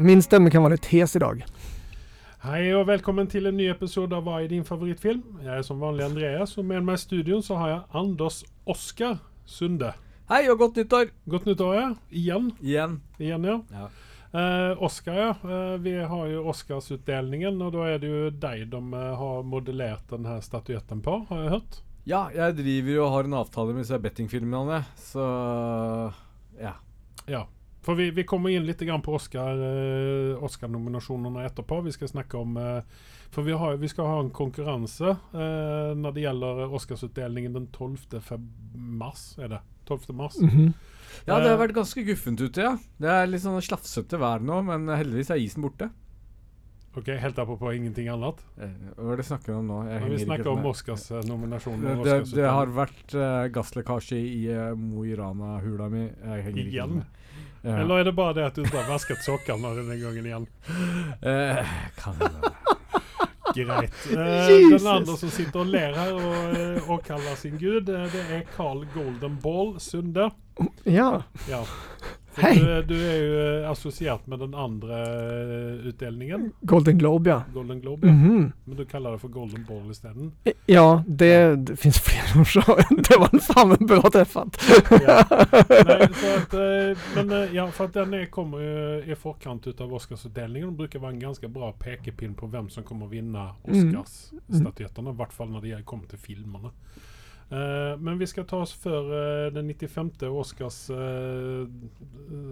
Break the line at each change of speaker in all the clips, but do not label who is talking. Min stemme kan være litt hes i dag.
Hei og velkommen til en ny episode av Hva er din favorittfilm? Jeg er som vanlig Andreas, og med meg i studio så har jeg Anders Oskar Sunde.
Hei og godt nyttår!
Godt nyttår, ja. Igjen.
Igjen.
Igjen, ja.
Ja.
Eh, Oscar, ja. Eh, vi har jo Oscarsutdelningen, og da er det jo deg de eh, har modellert denne statuetten på, har jeg hørt.
Ja, jeg driver jo og har en avtale med disse bettingfilmene, så ja.
Ja. For vi, vi kommer inn litt grann på Oscar, eh, Oscar-nominasjonene etterpå. Vi skal snakke om eh, For vi, har, vi skal ha en konkurranse eh, når det gjelder Oscarsutdelingen den 12. feb- mars. Er det? 12. mars.
Mm. Ja, det har
Eh.
vært ganske guffent ute, ja. Det er litt sånn slafsete vær nå, men heldigvis er isen borte.
Ok, Helt apropå ingenting annet.
Eh, Hva er det snakker vi om nå? Jeg
Men vi
henger ikke
snakker om
med.
Oscars-nominasjoner.
Det,
og
det, det
Oscarsutdelingen.
har vært eh, gasslekkasje i eh, Mo i Rana-hula mi. Jeg henger ikke
Igjen?
med. Ja.
Eller er det bare det at du ikke har vasket sokkene denne gangen igjen?
Eh, kan hende.
Greit. Eh,
Jesus!
den andre som sitter og ler her og, eh, og kaller sin gud, eh, det er Carl Golden Ball Sunde.
Ja.
Ja. For
Hei.
Du, du er jo eh, assosiert med den andre eh, utdelingen,
Golden Globe, ja.
Golden Globe. ja.
Mhm.
Men du kaller det for Golden Ball isteden.
Ja, det, det finns fler orsaker. Det var en fan en bra träffat.
Ja. Nei, så at, eh, men eh, ja, for at den er, kommer jo i forkant ut av Oscarsutdelingen og bruker være en ganske bra pekepinn på hvem som kommer å vinne Oscarsstatuettene. I hvert fall når det kommer til filmene. Eh, men vi skal ta oss før eh, den eh, 95.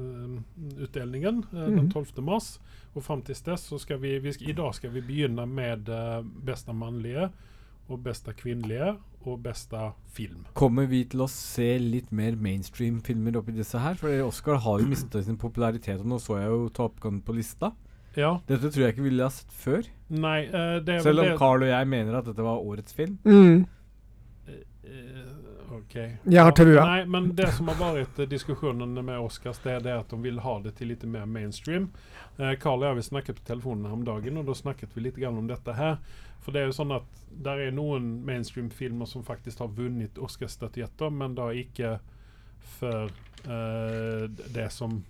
Oscars-utdelingen eh, den
Mhm.
12. mars. Og fram til dess så skal vi, vi skal, I dag skal vi begynne med uh, beste mannlige og beste kvinnelige og beste film.
Kommer vi til å se litt mer mainstream-filmer oppi disse her? For Oscar har jo mistet sin popularitet, og nå så jeg jo Top Gun på lista.
Ja,
Dette tror jeg ikke vi ville ha sett før.
nei, eh, det er vel
Selv om
det-
Carl og jeg mener at dette var årets film.
Mm.
Eh, OK.
Jeg har trua.
Nei, men det som har vært eh, diskusjonen med Oscars, det er det at de vil ha det til litt mer mainstream. Eh, Carl og jeg vi snakket på telefonen her om dagen, og da snakket vi litt grann om dette her. For det er jo sånn at der er noen mainstream-filmer som faktisk har vunnet Oscars-statuetter, men da ikke for eh, det som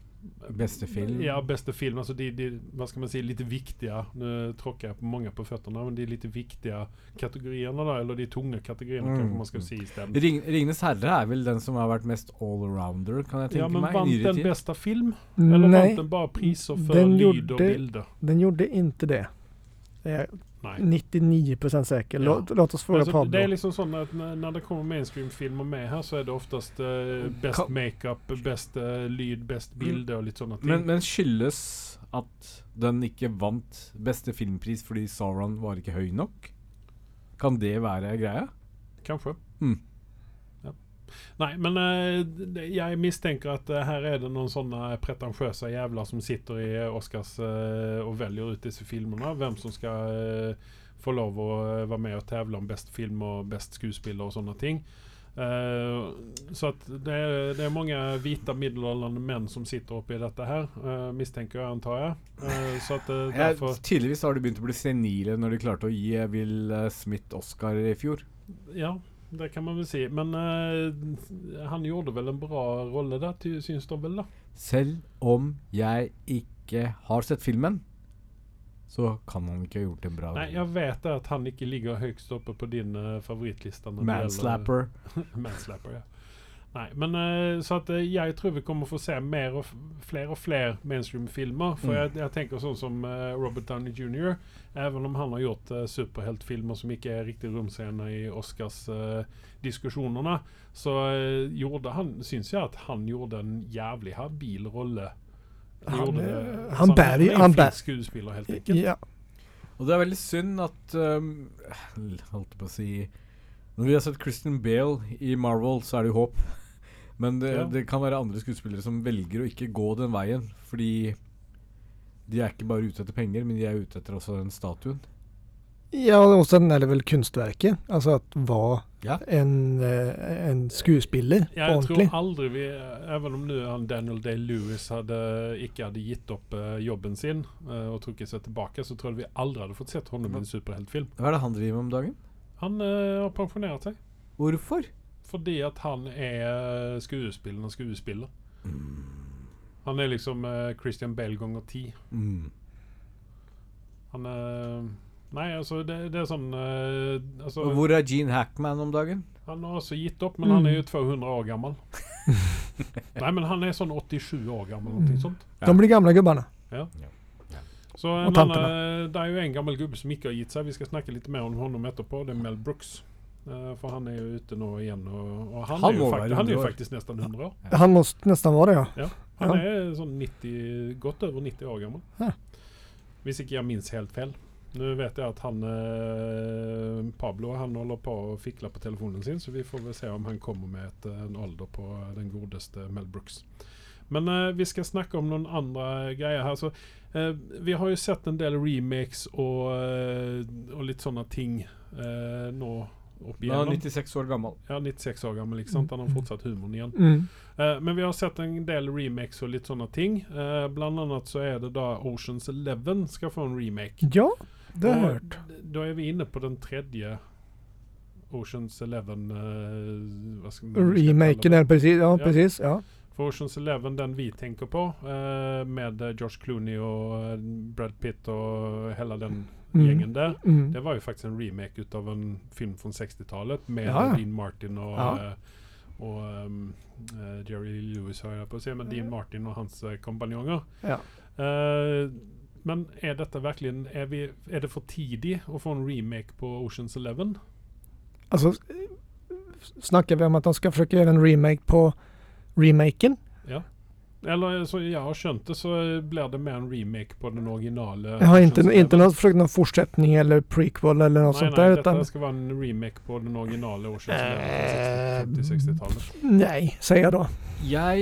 Beste film.
Ja, beste film. Alltså de, de, vad ska man säga, lite viktiga, nu tråkar jag på många på fötterna, men de lite viktiga kategorierna där, eller de tunga kategorierna
Mm.
kanske man ska säga istället.
Ring, 'Ringenes herre' er vel den som har vært mest all-arounder, kan jeg tenke
Ja, men
meg. i
vann
nyere
den
tid.
bästa film? Eller vann
Nej,
den bara priser för
Den
lyd och
gjorde-
bilder?
den gjorde inte det. Jag är
Nej.
99% säker. Låt, låt oss fråga
Alltså, det är
Pablo.
liksom sånn att när, när det kommer mainstreamfilmer med här så är det oftast eh, bäst
Ka-
makeup, bäst eh, lyd, bäst bilder och lite sådana ting.
Men, men skyldes at den ikke vant beste filmpris fordi Sauron var ikke høy nok? Kan det være greia?
Kanskje.
Mm.
Ja. Nei, men eh, det- jeg mistenker at eh, her er det noen sånne pretensiøse jævler som sitter i eh, Oscars eh, og velger ut disse filmene. Hvem som skal eh, få lov å eh, være med og tevle om best film og best skuespiller og sånne ting. Eh, så at det, er- det er mange hvite middelaldrende menn som sitter oppi dette her, eh, mistenker jeg, antar jeg. Eh, så at eh,
Jeg,
derfor
tydeligvis har de begynt å bli senile når de klarte å gi Will eh, Smith Oscar i fjor.
Ja, det kan man vel si. Men eh, han gjorde vel en bra rolle der, ty- syns de vel, da.
Selv om jeg ikke har sett filmen, så kan han ikke ha gjort en bra
Nei, jeg vet det at han ikke ligger høyest oppe på din eh, favorittliste. når det gjelder-
manslapper.
Manslapper, ja. Nei, men eh, så at eh, jeg tror vi kommer få se mer og f flere og flere mainstream-filmer. For jeg,
Mm.
jeg tenker sånn som eh, Robert Downey jr. Even om han har gjort eh, superheltfilmer som ikke er riktig romscene i Oscars-diskusjonene, så eh, gjorde han, syns jeg at han gjorde en jævlig habil rolle.
Han,
gjorde
eh,
det-
han
altså,
bærer-
er en
han
fin
bærer-
Skuespiller, helt enkelt.
Ja.
Og det er veldig synd at um, Holdt på å si Når vi har sett Christian Bale i Marvel, så er det jo håp. Men det,
Ja.
det kan være andre skuespillere som velger å ikke gå den veien. Fordi de er ikke bare ute etter penger, men de er ute etter også den statuen.
ja, och sen är det väl kunstverket. Alltså att vara
Ja.
en, eh, en skuespiller på
Jeg tror
ordentlig.
aldri vi Even om nå han Daniel Day-Lewis hadde, ikke hadde gitt opp eh, jobben sin eh, og trukket seg tilbake, så tror jeg vi aldri hadde fått sett ham i en superheltfilm.
Hva er det han driver med om dagen?
Han eh, har pensjonert seg
Hvorfor?
fordi at han er eh, skuespillende skuespiller. Han er liksom eh, Christian Bale ganger ti.
Mm.
Han er Nei, altså, det, det er sånn eh, altså,
Og hvor er Gene Hackman om dagen?
Han har også gitt opp, men han er jo 200 år gammel. Nei, men han er sånn 87 år gammel, eller noe sånt.
De blir gamla gubbarna.
Så en eh,
tantene.
annen, det er jo en gammel gubbe som ikke har gitt seg. Vi skal snakke litt mer om honom etterpå. Det er Mel Brooks. Eh, for han er jo ute nå igjen, og, og han,
Han
er jo
må
fakt han er
være
jo
100 år.
faktisk nesten 100 år.
Han måste nästan vara det ja.
Han
Ja.
er sånn 90, godt over 90 år gammel.
Ja.
Hvis ikke jeg minnes helt feil. Nå vet jeg at han eh, Pablo han holder på å fikle på telefonen sin, så vi får vel se om han kommer med et, eh, en alder på den godeste Mel Brooks. Men eh, vi skal snakke om noen andre greier her. Så, eh, vi har jo sett en del remakes og, eh, og litt sånne ting eh, nå opp
Han
igjennom.
er 96 år gammel.
Ja, 96 år gammel, ikke sant? Han har fortsatt humoren igjen.
Mm.
Eh, men vi har sett en del remakes og litt sånne ting. Eh, blant annet så er det da Oceans Eleven skal få en remake.
Ja, det har jag
Og
hört.
d- Da er vi inne på den tredje Oceans Eleven eh, hva skal man skal kalle
Remaken
det?
är precis, ja,
Ja.
precis. Ja.
For Oceans Eleven, den vi tenker på, eh, med eh, Josh Clooney og eh, Brad Pitt og hele den
Mm.
gjengen der,
Mm.
det var jo faktisk en remake ut av en film fra 60-tallet med
Ja, ja.
Dean Martin og,
Ja.
eh, og ehm, eh, Jerry Lewis, har jeg på å si, men Dean Martin og hans eh, kompanjonger.
Mm. Ja.
Eh, men er dette virkelig er, vi, er det for tidlig å få en remake på Oceans Eleven?
Alltså, eh, snackar vi om att de ska försöka göra en remake på remaken?
Eller eh, så jeg har skjønt det, så eh, blir det mer en remake på den originale.
Jag har
Ocean's
inte, inte
Eleven.
någon, försökt någon fortsättning eller prequel eller något
Nei,
sånt
nei,
där.
dette
Utan,
skal være en remake på den originale Oceans alltså
Eh,
Eleven fra 60-tallet.
nej, säger jag då.
Jeg,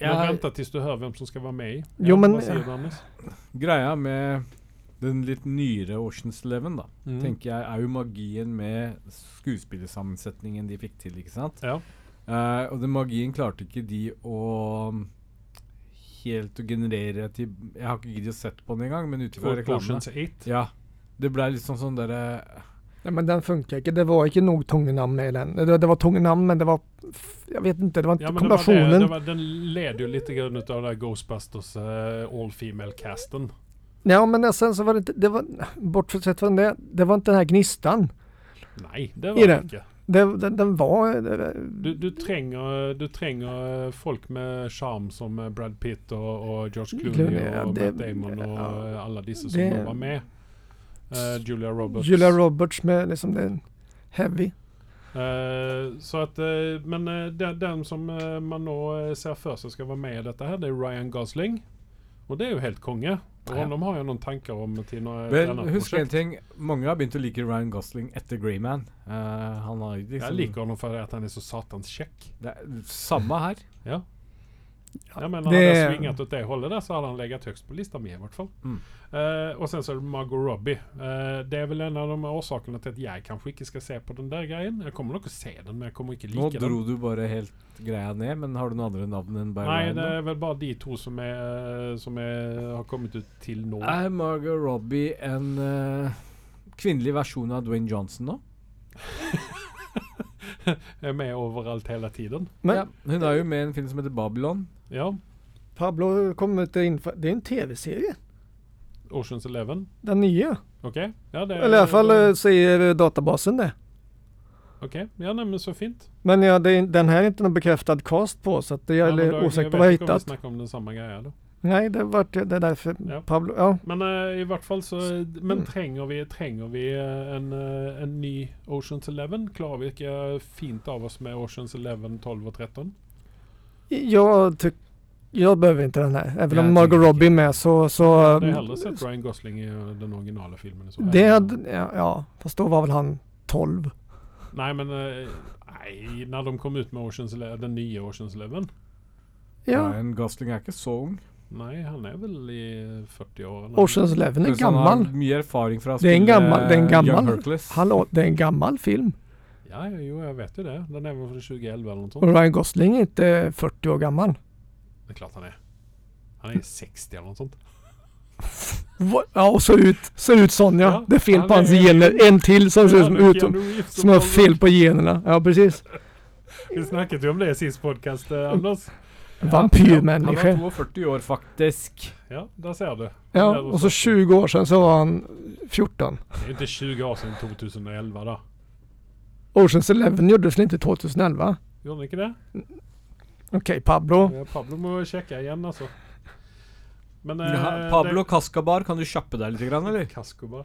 Men
jeg
vänta tills du hör vem som ska vara med i.
Jo, men-
Vad säger du Anders?
Greia med den litt nyere Oceans Eleven, da,
Mm.
tenker jeg er jo magien med skuespillersammensetningen de fikk til, ikke sant?
Ja.
Eh, og den magien klarte ikke de å um, helt å generere til Jeg har ikke giddet å sett på den engang, men ut ifra
För
reklamene
Oceans 8.
Ja. Det ble litt sånn sånn eh, derre
Nej, men den funkar inte. Det var inte nog tungnamn i den. Det, det var tungnamn men det var, f- jag vet inte, det var inte
Ja, men det var det,
kombinationen.
det var, den led ju lite grann utav det här Ghostbusters eh, all female casten.
Ja, men sen så var det inte, det var, bortsett från det, det var inte den här gnistan.
Nej, det
I
var det
det.
inte.
Det, den, den var... Det,
Du, du, tränger, du tränger eh, folk med charm som eh, Brad Pitt och, och George Clooney,
Clooney, Mm. ja,
och
det-
Matt Damon och
ja.
eh, alla dessa som
Det-
de var med. Eh, Julia Roberts.
Julia Roberts med liksom den heavy.
Eh, så att, eh, men eh, den, den som eh, man nå eh, ser för sig ska vara med i detta här, det är Ryan Gosling. Och det är ju helt konge. Och
Ja.
honom har jag någon tankar om till något
Vel,
annat
husk en
projekt.
ting. Mange har begynt å like Ryan Gosling etter Greyman. Uh, han har liksom
Jag liker honom för att han är så satans check.
Det er samme her.
Jag menar,
det-
hade han svingat åt det hållet där så hade han legat högst på listan med i vart fall.
Mm.
Eh, och sen så är det Margot Robbie. Eh, det är väl en av de orsakerna till att jag kanske inte ska se på den där grejen. Jag kommer nog att se den men jag kommer inte
Nå
lika den.
dro du bare helt greia ned, men har du noen andre navn enn bare
Nej,
Ryan?
det
da?
är väl bara de två som, är, som är, har kommit ut till nå.
Er Margot Robbie en eh, kvinnelig versjon av Dwayne Johnson nå?
är med överallt hela tiden.
Men
ja, hun er jo med i en film som heter Babylon.
Ja,
Pablo kom ut in, det är en tv-serie.
Oceans Eleven.
Den nya.
Okej. Ja, det
Eller i alla fall eh, säger eh, databasen det.
Okej. Ja, nej, men så fint.
Men ja, det, är- den här är inte någon bekräftad cast på så att det, jag
ja,
är
men då-
osäker på
vet
vad jag
inte om vi
hittat.
snackar om den samma grejen då.
Nej, det var det är därför
Ja.
Pablo, ja.
Men eh, i vart fall så... Men
Mm.
tränger vi, tränger vi eh, en, eh, en ny Oceans Eleven? Klarar vi vilka fint av oss med Oceans Eleven, 12 och 13?
Jag tycker, jag behöver inte den här. Även
Ja,
om
jag
Margot
tänker-
Robbie är med så, så... mm,
Det är hellre sett Ryan Gosling i eh, den originala filmen. i Så. fall.
Det hade, ja, ja, fast då var väl han 12.
Nej, men... eh, Nej, när de kom ut med Oceans Eleven, den nya Oceans Eleven.
Ja.
Ryan Gosling er ikke så ung.
Nej, han är väl i 40-åren.
Oceans Eleven är
Pluss Han
gammal.
har mye erfaring fra å
Det er en gammal- det er en
eh, Young
gammal-
Hercules.
Hallå, det är en gammal film.
Ja, ja, jo, jag vet ju det. Den är väl från 2011 eller något sånt.
Och Ryan Gosling är inte 40 år gammal.
Det är klart han är. Han är 60 eller något sånt.
Va- Ja, och så ut, ser ut sån ja.
Ja,
Det är fel
han
på hans
är-
gener. En till som ser ut som,
Ja, det är
ut,
Keanu Reeves
som har
som-
fel på generna. Ja, precis.
Vi snackade ju om det i sist podcast, eh, Anders.
Han
Vampyrmänniskor.
er 42 år, faktisk.
Ja, där ser du.
Ja, och så 20 år sedan så var han 14.
Det är inte 20 år sedan 2011 då.
Oceans Eleven gjordes väl inte 2011?
Gjorde ni inte det?
Okej, Pablo.
Ja, Pablo må checka igen alltså. Men... eh,
Ja, Pablo Kaskabar, kan du kjappe deg litt, grann,
det,
eller?
Kasko bara.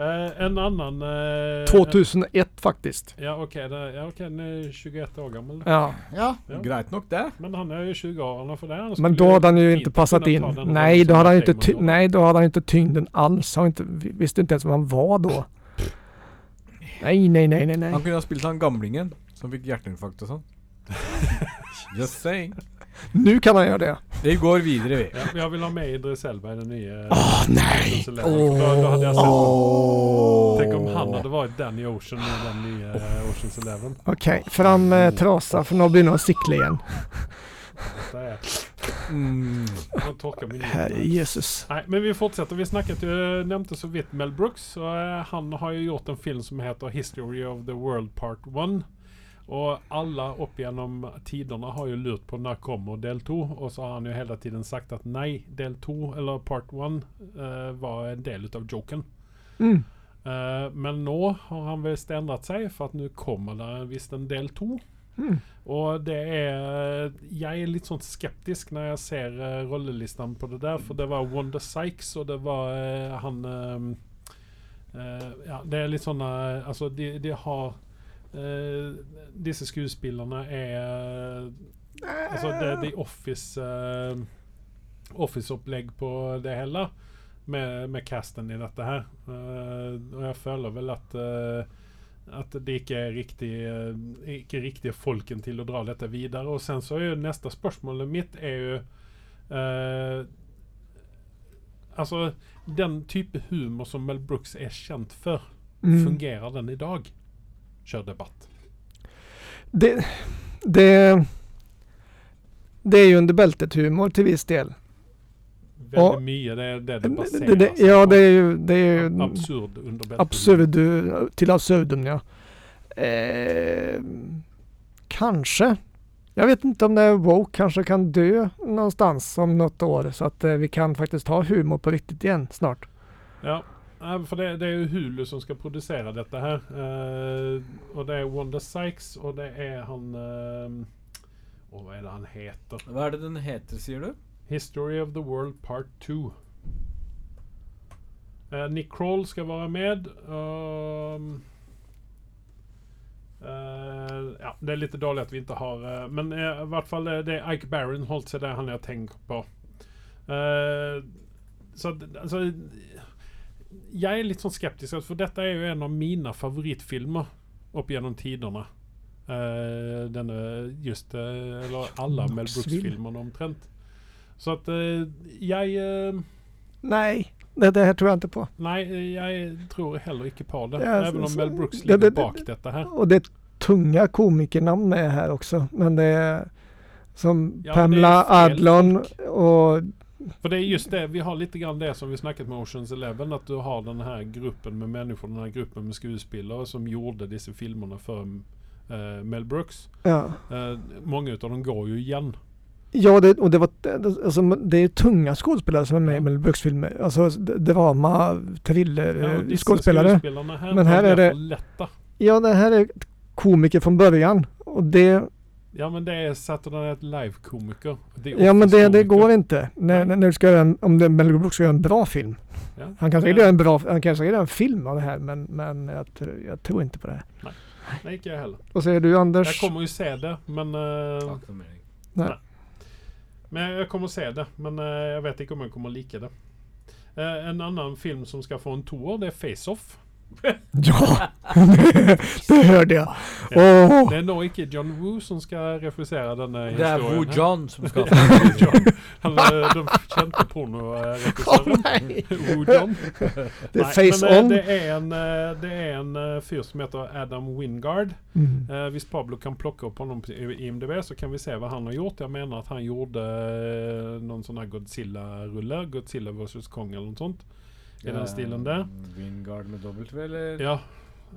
Eh, en annan... eh,
2001 faktiskt.
Ja okej, det- ja, okej, han är 21 år gammal.
Ja,
Ja,
Ja.
greit nok, det.
Men han är ju 20 år, han har för det. Han
men
skulle
då hade han ju inte
inte
passat
kunna ta
in.
den
Nej,
rollen
då
som
hade han ju
Matt
inte, ty-
Damon gjorde.
nej, då hade han inte tyngden alls. Han inte, vi- visste inte ens vem han var då. Nej, nej, nej, nej,
Han
nej.
kunne ha spilt han gamlingen som fikk hjerteinfarkt og sånn. Just saying.
Nu kan han göra det.
Vi går videre, vi.
Ja, jag vill ha med Idris Elba i den nya...
Åh, nej!
Ocean's Eleven, för Då, då hade jag sett...
Åh.
Tänk om han hade varit Danny Ocean i den nya eh, Oceans Eleven.
Okej, fram med trasa för nu blir någon sicklig igen.
Där är.
Mm.
Han torkar min
Herre Jesus.
Nej, men vi fortsätter. Vi snackat ju, eh, nämnde så vitt Mel Brooks. Och eh, han har ju gjort en film som heter History of the World Part 1. Och alla upp genom tiderna har ju lurt på när kommer del 2. Och så har han ju hela tiden sagt att nej, del 2 eller Part 1 eh, var en del utav Jokern.
Mm.
Eh, men nu har han visst ändrat sig för att nu kommer det visst en del 2.
Mm.
Och det är... Jag är lite sånt skeptisk när jag ser uh, rollelistan på det där. För det var Wanda Sykes och det var eh, han... ehm, eh, ja, det är lite såna... Alltså det de har... Uh, dessa skuespillarna är... alltså det, det är office... eh, Office-upplägg på det hela. Med, med casten i detta här. Eh, och jag följer väl att... eh, att det inte är riktigt, inte riktigt folken till att dra detta vidare. Och sen så är ju nästa spörsmål mitt är ju... Eh, alltså den typ humor som Mel Brooks är känd för.
Mm.
Fungerar den idag? Kör debatt.
Det, det, det är ju under bältet humor till viss del.
Väldigt
Ja.
mycket det är det det baseras
Det, det, ja,
på.
det är ju, det är ju
Absurd underbältet.
absurd, till absurdum ja. Eh, kanske. Jag vet inte om det är woke kanske kan dö någonstans om något år så att eh, vi kan faktiskt ha humor på riktigt igen snart.
Ja, nej, för det, det är ju Hulu som ska producera detta här. Eh, och det är Wanda Sykes og det är han... Uh, och vad är det han heter?
Hva er det den heter, sier du?
History of the World Part 2. Eh, Nick Kroll ska vara med. Ehm, eh, ja, det är lite dåligt att vi inte har... eh, men eh, i vart fall eh, det är Ike Barinholt, så det är han jag tänker på. Eh, så att, alltså... Jag är lite sån skeptisk, alltså, för detta är ju en av mina favoritfilmer upp genom tiderna. Uh, den just, eh, eller alla Mel Brooks-filmerna omtrent. Så att eh, jag... Eh,
Nej, det, det här tror jag inte på.
nej, jag tror heller inte på det.
Ja,
även om
så-
Mel Brooks
det-
ligger
det-
bak detta här.
Och det är tunga komikernamn med här också. Men det är som
Ja, men det är
Pamela
fel
Adlon och
För det är just det, vi har lite grann det som vi snackat med Oceans Eleven. Att du har den här gruppen med människor, den här gruppen med skuespelare som gjorde dessa filmerna för eh, Mel Brooks.
ja.
Eh, många utav dem går ju igen.
Ja, det, och det var det- alltså, det är tunga skådespelare som är med i Mel Brooks-filmer. Alltså d- drama,
Ja, och
thriller,
dessa
Eh, skådespelare.
Skuespelarna här
Men här
var
är det-
för lätta.
Ja, det här är komiker från början. Och det,
Ja men det är Saturday Night Live-komiker. The
ja men det, det
Office-komiker.
går inte. När,
Nej.
när du ska göra en, om det, Mel Brooks ska göra en bra film.
Ja.
Han kan säkert
Nej,
göra en bra, han kan säkert göra en film av det här men, men jag, tror- jag tror inte på det. här.
Nej, inte jag heller.
Vad säger du
Jag
Anders?
kommer ju se det men... eh,
Takk for melding.
Men jag kommer se det, men eh, jag vet inte om jag kommer lika det. Eh, en annan film som ska få en tour, det är Face-Off.
Ja, det hörde jag. Åh,
Det är nog icke John Woo som ska regissera den här
Det er Wu
historien. eh.
John som skal
Woo John. Han, eh, den kände eh, pornoregissören.
Åh, nej.
Woo John.
det är
Nej,
face
men, eh,
on.
Det är en, eh, det är en eh, fyr som heter Adam Wingard.
Mm.
Eh, visst Pablo kan plocka upp honom på IMDB så kan vi se vad han har gjort. Jag menar att han gjorde eh, någon sån här Godzilla-rulle. Godzilla vs Kong eller något sånt. I den stilen där.
Wingard med Ehm, W, eller?
Ja.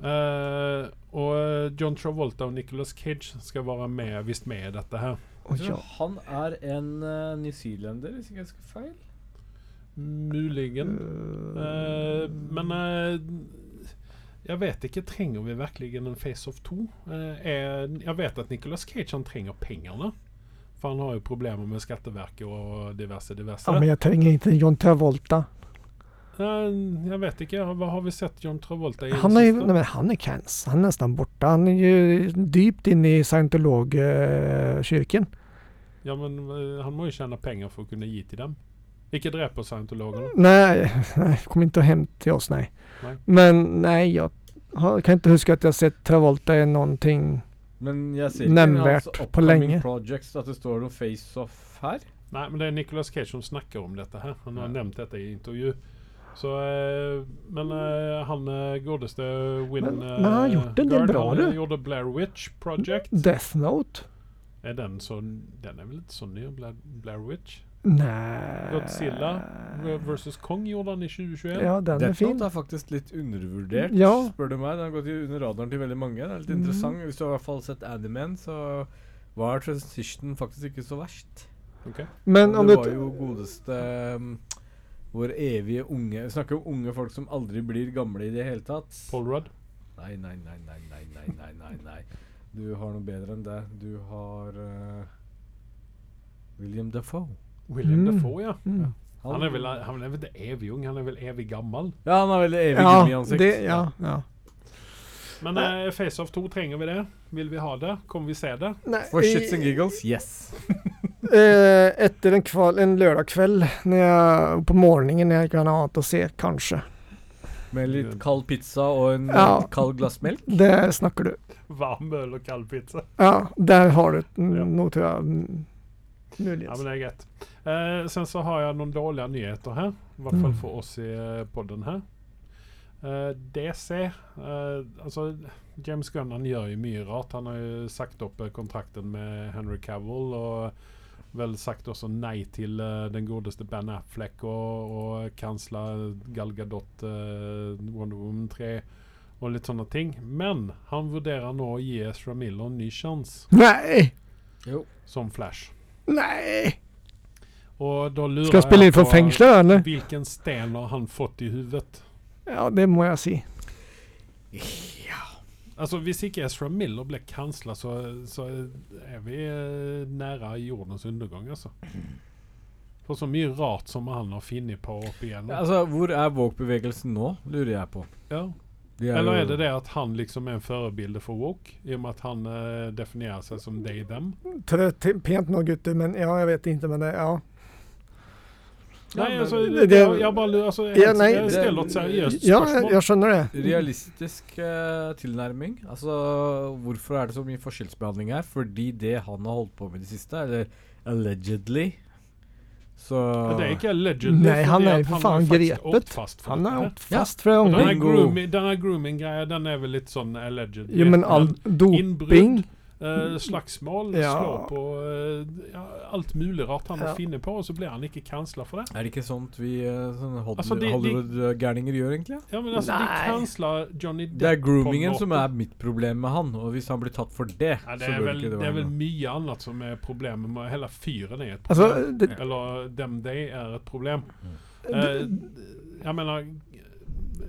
Eh, og John Travolta og Nicolas Cage skal være med, visst med i dette her.
Oj,
Jeg
ja.
tror han er en uh, newzealender, hvis ikke jeg husker feil.
Muligen. Eh, men eh, jeg vet ikke. Trenger vi virkelig en Face-Off 2? Eh, er, jeg vet at Nicolas Cage han trenger pengene. For han har jo problemer med skatteverket og diverse, diverse.
ja, men jag tränger inte John Travolta.
Eh, jeg vet ikke. Hva har vi sett John Travolta i? det
Han är, ju-
siste?
nej, men han är cancer, han är nästan borta. Han är ju dypt inne i scientologkyrkan.
Ja, men eh, han må jo tjene penger for å kunne gi til dem. Ikke drep oss, scientologene.
Nej, nej, kom inte hem till oss, nej.
Nej.
Men nej, jag har, kan inte huska att jag sett Travolta i någonting.
Men jeg ser ikke i hans
Nevnvært på
upcoming
lenge.
projects at det står noe face-off her.
Nei, men det er Nicolas Cage som snakker om dette her. Han har
Ja.
nevnt dette i intervju. Så, eh, men eh, han eh, godeste Win
Mm.
eh,
Men- men han har gjort en del bra,
Han
du. Mm.
eh, gjorde Blair Witch Project.
Death Note?
Er den, så, den er vel ikke så ny, Blair, Blair Witch?
Nej.
Godzilla versus Kong gjorde han i 2021.
Eh. Ja, den är
Death
fin.
Note er faktisk litt undervurdert,
Ja.
spør du meg. Den har gått i- under radaren til veldig mange. Det er litt
Mm.
interessant. Hvis du har i hvert fall sett Animen, så var transition faktisk ikke så verst.
Ok.
Men
Og
om
det
du...
var jo godeste um, vår evige unge Vi snakker om unge folk som aldri blir gamle i det hele tatt.
Paul Rudd.
Nei, nei, nei, nei, nei, nei, nei, nei, nei. Du har noe bedre enn det. Du har eh, William Defoe.
William
Mm.
Defoe, ja.
Mm.
Han er, vel, han er vel ikke evig ung, han er vel evig gammel.
Ja, han har veldig evig
Ja,
gummiansikt.
det, ja, ja.
Men eh, Face Off 2, trenger vi det? Vil vi ha det? Kommer vi se det?
Nej,
For shits
i-
and giggles, yes.
Eh, etter en, kval, en lørdagskveld når jeg, på morgenen når jeg ikke har noe annet å se, kanskje.
Med litt kald pizza og en
Ja.
eh, kald glassmelk.
Det snakker du.
Varm øl og kald pizza.
Ja, der har du n-
Ja.
noe, tror jeg. mm,
Ja,
Muligens.
men det er greit. Eh, sen så har jeg noen dårlige nyheter her. I hvert fall
Mm.
for oss i eh, podden her. Eh, DC eh, Altså, James Gunn han gjør jo mye rart. Han har jo sagt opp eh, kontrakten med Henry Cavill og vel sagt også nei til eh, den godeste Ben Affleck og, og kansla Gal Gadot eh, Wonder Woman 3 og litt sånne ting. Men han vurderer nå å gi Ezra Miller en ny sjanse
Nei!
Jo.
som Flash.
Nei!
Og da lurer
Skal jeg spille inn for
på-
fengsel, eller?
Hvilken sten har han fått i huvudet?
Ja, det må jeg si.
Altså, Alltså, hvis ikke Ezra Miller ble kansla, så, så er vi eh, nære jordens undergang, altså. For så mye rart som han har funnet på opp
Ja,
Alltså,
igjennom.
altså, hvor er woke-bevegelsen nå, lurer jeg på.
Ja.
De
Eller
jo-
er det det at han liksom er en forbilde for woke, i og med at han eh, definerer seg som they them?
Trött, pent nå, gutter, men ja, jeg vet ikke, men det, ja.
Ja,
Nei,
men
altså,
det-
jeg, jeg bare lurer altså, jeg,
Ja, nei,
jeg stiller et
Ja,
seriøst
jeg,
spørsmål.
jeg skjønner det.
Realistisk eh, tilnærming. Altså, hvorfor er det så mye forskjellsbehandling her? Fordi det han har holdt på med i det siste, eller allegedly Så
Ja, det er ikke allegedly,
Nei, han
fordi
er jo for
at han
faen
har faktisk
grepet.
åkt fast for
Han
dette
er
her.
holdt fast fra
Og Denne
ungdom.
Bingo.
grooming- denne grooming-greia, den er vel litt sånn alleged.
Jo, men all doping Mm.
Innbrudd, eh, slagsmål,
Ja.
slå på eh, ja, alt mulig rart han
Ja.
har funnet på, og så blir han ikke kansla for det.
Er det ikke sånt vi eh, sånne Hollywood-
Altså, de- de-
Hollywood-gærninger gjør, egentlig?
Ja, men alltså, altså,
Nei.
De kansler Johnny Depp.
Det er groomingen
måte.
som er mitt problem med han, og hvis han blir tatt for det,
Ja, det,
så
er
bør
vel,
ikke det
det er
være
vel
noe.
mye annet som er problemet med hele fyren. er et
Altså,
problem.
Alltså, det,
Eller dem de er et problem. Eh,
det,
jeg mener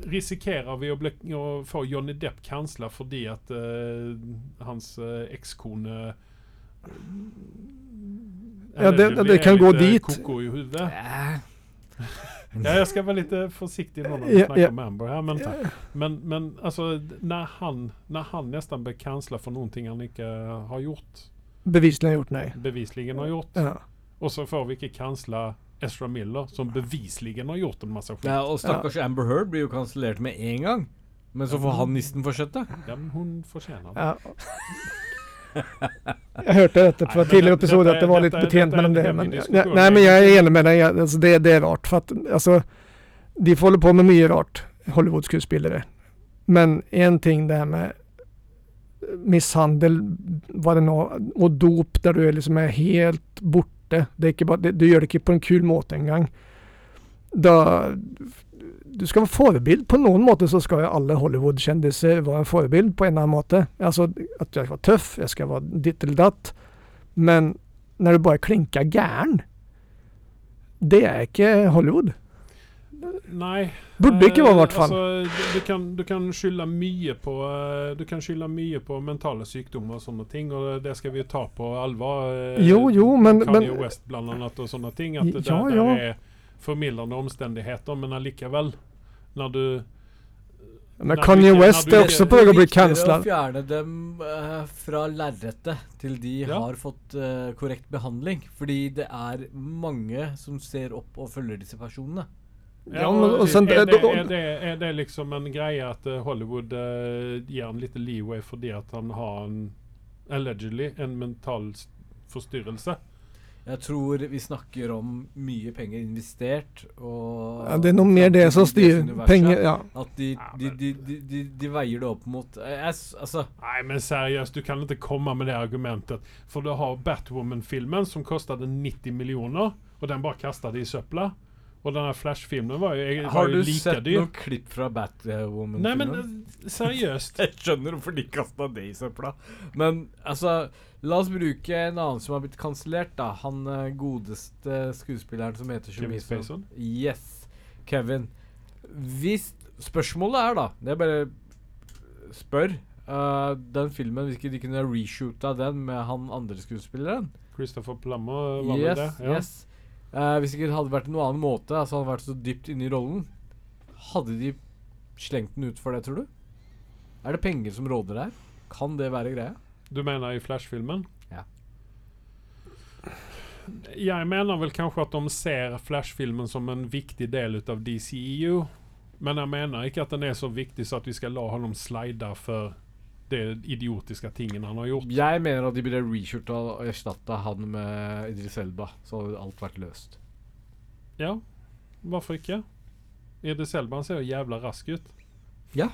Risikerer vi å, bli, å få Johnny Depp kansla fordi at eh, hans eh, ekskone
Ja, det- det- det
er
kan gå
litt, eh,
dit.
Koko i hodet.
Eh,
Ja, jag ska vara lite försiktig när man
Ja,
snackar
ja.
om Amber här. Men, men, men alltså, d- när han, när han nästan blir kanslad för någonting han inte har gjort,
beviselig har jeg gjort nei.
bevisligen har gjort.
Ja.
Och så får vi inte kansla Ezra Miller som bevisligen har gjort en massa skit.
ja, og stakkars Amber Heard blir jo kansellert med en gang. Men så får han nissen fortsette.
Ja, men hon förtjänar det.
Ja. Jeg hørte dette fra
Nei, men
tidligere
det-
episode
dette-
at det var litt
dette-
betjent
dette er
mellom
en
det.
hemmelig
Men,
diskusjon.
ne- nei, men jeg er enig med deg. jeg- Altså, det, det er rart. For at, altså, de får holde på med mye rart, Hollywood-skuespillere. Men én ting det her med mishandel vad det nå, og dop, der du er liksom er helt borte det er ikke bare, det, Du gjør det ikke på en kul måte engang. Da du skal være forbild. På noen måte så skal jo alle Hollywood-kjendiser være en forbild på en eller annen måte. Alltså, Altså at jeg skal være tøff, jeg skal være ditt eller datt. Men når du bare klinker gæren, det er ikke Hollywood.
Nei.
Burde ikke være, i hvert fall.
Eh, altså, du, du kan, du kan skylde mye på eh, Du kan skylde mye på mentale sykdommer og sånne ting, og det skal vi ta på alvor. eh,
Jo, jo, men-
Kanye
men-
West blant annet og sånne ting. At det
Ja,
der,
ja.
der er formildende omstendigheter, men allikevel Når du
Men
Nei,
alltså, Kanye
ikke-
West
nei,
er
du-
også på vei å bli
viktigere
cancela.
å fjerne dem eh, fra lerretet til de
Ja.
har fått eh, korrekt behandling. Fordi det er mange som ser opp og følger disse personene.
Ja, men- og sen-
er, det, er, det, er det liksom en greie at eh, Hollywood eh, gir han litt leeway fordi at han har en allegedly en mental s- forstyrrelse?
Jeg tror vi snakker om mye penger investert og
Ja, det er noe mer det som styrer
universet.
penger ja.
At de,
Ja,
de,
men-
de, de, de, de veier det opp mot eh, jeg, s- Altså
Nei, men seriøst, du kan ikke komme med det argumentet. For du har Batwoman-filmen, som kostet 90 millioner, og den bare kastet i søpla. Og den her Flash-filmen var jo, var
Har
jo
du
like
sett
dyr.
noen klipp fra Batwoman-filmen?
Nei, men eh, seriøst.
Jeg skjønner hvorfor de kasta det i søpla. Men altså, la oss bruke en annen som har blitt kansellert, da. Han eh, godeste skuespilleren som heter så
Kevin
mye som-
Spacey?
Yes. Kevin. Hvis Spørsmålet er, da Det er bare spør. eh, den filmen, hvis ikke de kunne reshoota den med han andre skuespilleren
Christopher Plummer var med
Yes,
det. Ja.
yes. Eh, hvis ikke det hadde vært noen annen måte, altså han hadde vært så dypt inne i rollen, hadde de slengt den ut for det, tror du? Er det penger som råder der? Kan det være greia?
Du mener i Flash-filmen?
Ja.
Jeg mener vel kanskje at de ser Flash-filmen som en viktig del av DCEU. E Men jeg mener ikke at den er så viktig så at vi skal la ham slide for de idiotiske tingene han har gjort.
Jeg mener at de burde reshorta og erstatta han med Idris Elba, så hadde alt vært løst.
Ja, hvorfor ikke? Idris Elba han ser jo jævla rask ut.
Hæ?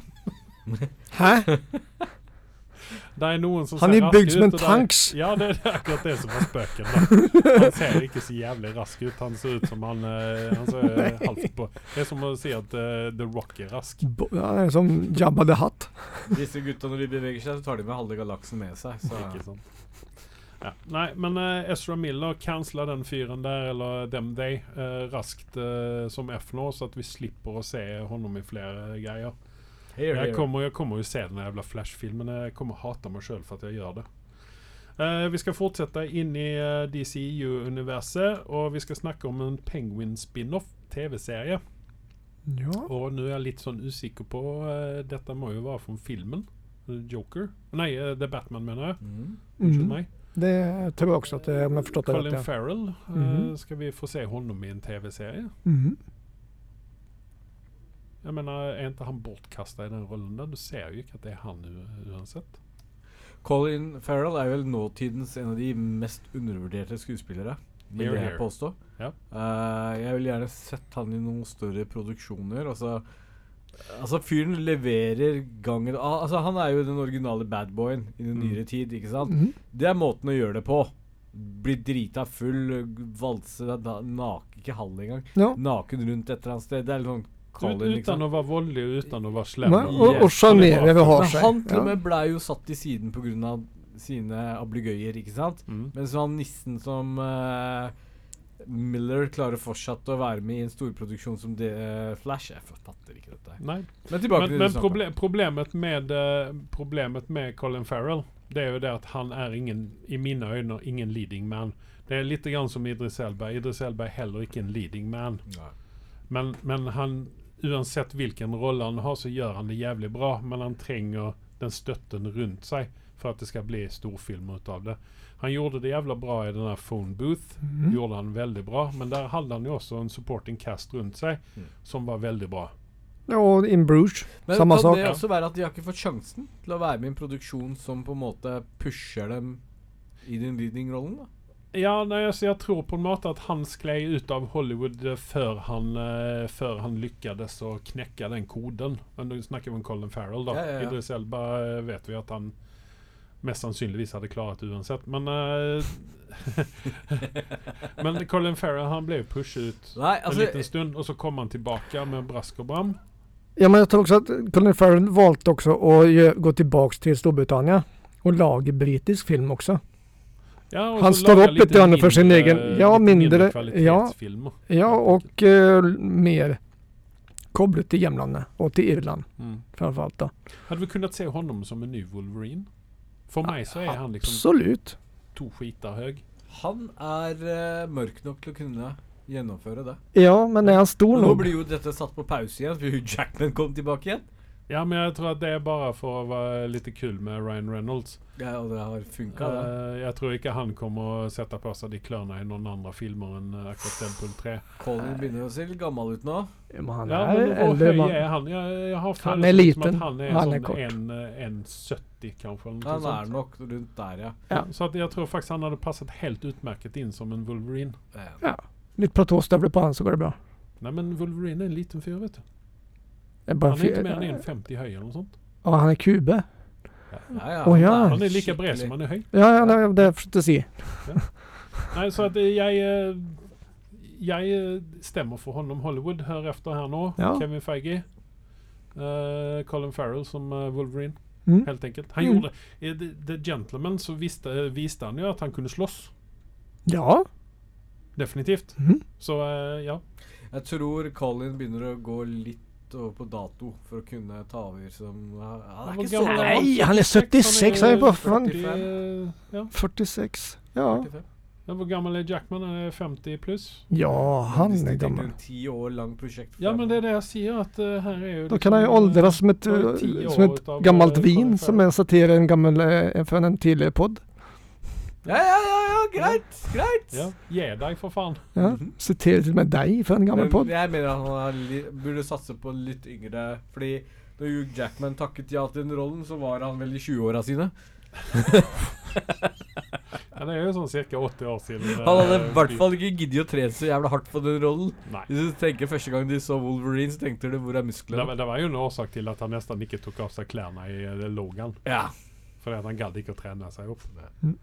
Det er noen som
Han
ser
er
rask
bygd som en
ut, og det er-
tanks.
Ja, det er akkurat det som er spøken. da. Han ser ikke så jævlig rask ut. Han ser ut som han, eh, han ser halvt på Det er som å si at eh, The Rock er rask.
Bo- Ja, det er som Jabba the Hutt.
Disse gutta, når de beveger seg, så tar de med halve galaksen med seg.
Ikke sant? Ja. Nei, men eh, Ezra Miller, cancela den fyren der, eller dem they, eh, raskt eh, som F nå, så at vi slipper å se honom i flere greier. Jeg kommer, jeg kommer jo se den jævla Flash-filmen. Jeg kommer hate meg sjøl for at jeg gjør det. Eh, vi skal fortsette inn i eh, DCU-universet, og vi skal snakke om en Penguin-spin-off TV-serie.
Ja.
Og nå er jeg litt sånn usikker på eh, Dette må jo være fra filmen. eh, Joker Nei, eh, The Batman, mener jeg.
Mm.
Unnskyld
Mm.
meg.
Det tror jeg også at det, om jeg har forstått det rett.
Colin
Ja.
Farrell. eh,
Mhm.
Skal vi få se honom i en TV-serie?
Mhm.
Jeg mener, Er ikke han bortkasta i den rollen der? Du ser jo ikke at det er han eh, u- uansett.
Colin Farrell er vel nåtidens en av de mest undervurderte skuespillere, vil
Here,
jeg
here.
påstå.
Ja.
Eh, jeg vil gjerne sett han i noen større produksjoner. Altså, altså fyren leverer gangen al- Altså, han er jo den originale badboyen i den
Mm.
nyere tid, ikke sant?
Mhm.
Det er måten å gjøre det på. Bli drita full, valse deg da- nak, ikke halv engang,
Ja.
naken rundt et eller annet sted. Det er litt sånn
Ut,
Colin,
uten
liksom.
å være voldelig, uten å være slem.
Nei, og, og
Yes.
sjarmere ved å ha
Men
seg.
han til og
Ja.
med blei jo satt til siden pga. sine ablegøyer, ikke sant?
Mm.
Mens han nissen som eh, Miller klarer fortsatt å være med i en storproduksjon som det, eh, Flash. Jeg fatter ikke dette. her.
Nei.
Men tilbake
Men,
til
men
det du snakket om.
proble problemet, med, eh, problemet med Colin Farrell det er jo det at han er ingen, i mine øyne ingen leading man. Det er litt grann som Idris Elba. Idris Elba er heller ikke en leading man.
Nei.
Men, men han, uansett hvilken rolle han har, så gjør han det jævlig bra. Men han trenger den støtten rundt seg for at det skal bli storfilm ut av det. Han gjorde det jævla bra i den der Phone Booth. Gjorde han veldig bra. Men der hadde han jo også en supporting cast rundt seg
Mm.
som var veldig bra.
Og In Bruges.
Men
Samme
kan
sak.
det også være at de har ikke fått sjansen til å være med i en produksjon som på en måte pusher dem i den leading-rollen? da?
Ja, nei, altså, jeg tror på en måte at han sklei ut av Hollywood eh, før han, eh, før han lykkades å knekke den koden. Men Nå snakker vi om Colin Farrell, da.
Ja, ja, ja.
Idris Elba eh, vet vi at han mest sannsynligvis hade klarat uansett. Men, eh, men Colin Farrell han blev pushut
Nei,
en
altså
liten stund och så kom han tillbaka med brask och bram.
Ja, men jag tror också att Colin Farrell valde också att gö- gå tillbaks till Storbritannien och lag brittisk film också.
Ja, och
Han
så
står
laga
upp lite grann för sin
mindre-
egen- ja,
lite
mindre-
kvalitetsfilmer.
Ja, och eh, mer kopplat till hemlandet och till Irland
Mm.
framförallt då.
Hade vi kunnat se honom som en ny Wolverine? För mig så är han liksom
Absolut.
to skitar hög.
Han er eh, mørk nok til å kunne gjennomføre det.
Ja, men är han stor
Men nå
nog?
blir jo dette satt på pause igjen, for Hugh Jackman kom tilbake igjen.
Ja, men jag tror att det är bara för att vara lite kul med Ryan Reynolds.
Ja, og det har funka, det.
Eh, jag tror inte han kommer att sätta på sig de klöna i någon andra filmer än uh, Aquatemple 3.
Colin begynner å se litt gammel ut nå.
Ja, men han
ja,
är
men vad
äldre.
hög
Man,
är han? Jag, jag har
Han är
föreställning som
liten.
Att han är,
Han
sån
är kort.
En, eh, en 70 kanske. eller något
Han
sånt.
er nok rundt der, ja.
Ja.
Så att jag tror faktiskt han hade passat helt utmärkt in som en Wolverine.
Eh,
lite platåstövlar på han så går det bra.
Nej men Wolverine är en liten fyr vet du.
Det är bara
Han är
fe-
inte mer än 1,50 høy eller något sånt.
Ja, han är kube.
Ja, ja,
Å, ja.
han
Han är lika bred
skikkelig-
som han är hög.
Ja, ja, det, det försökte se.
Nej så att eh, jag... eh, Jag eh, stämmer för honom. Hollywood hör efter här nu.
Ja.
Kevin Feige. eh, Colin Farrell som eh, Wolverine.
Mm.
Helt enkelt. Han
Mm.
gjorde... I The- The Gentleman så visste, eh, visste han ju att han kunde slåss.
Ja.
Definitivt.
Mm.
Så eh, ja.
Jeg tror Colin begynner å gå litt over på dato for å kunne ta over som Han han er
Hvor
ikke så
gammel er
gammel.
han?
Nej, han är 76. Han är bara fan
45. eh, Ja.
46. Ja.
45.
Ja, Hvor gammel er Jackman? Han er 50 pluss?
Ja, han
Hvis de
är
tenker
gammal.
en ti år lang prosjekt
Ja,
frem.
men det är det jag säger att eh, här är ju...
Då kan han ju åldras som ett,
det var ju tio
som
år
ett
utav,
gammalt
eh, Colin
vin som
Farrell.
är satire en gammal, eh, från en tidigare podd.
Ja, ja, ja, ja greit! Greit!
Ja, ge dig för fan.
Ja.
Mhm.
Citerar till och med dig för en gammal
Men
podd.
jeg mener at han er li burde satse på litt yngre, fordi når Hugh Jackman takket ja til den rollen, så var han vel i 20-åra sine.
Ja, det är ju sån cirka 80 år sedan. eh,
Han hadde i hvert fall ikke giddet å trene så jævla hardt på den rollen.
Nej.
Hvis du tenker Første gang de så Wolverine, så tenkte du 'hvor er
Det,
musklene'?
var- det var ju en orsak till att han nästan inte tog av sig kläderna i eh, Logan.
Ja.
För att han gadd inte att träna sig upp.
Mm.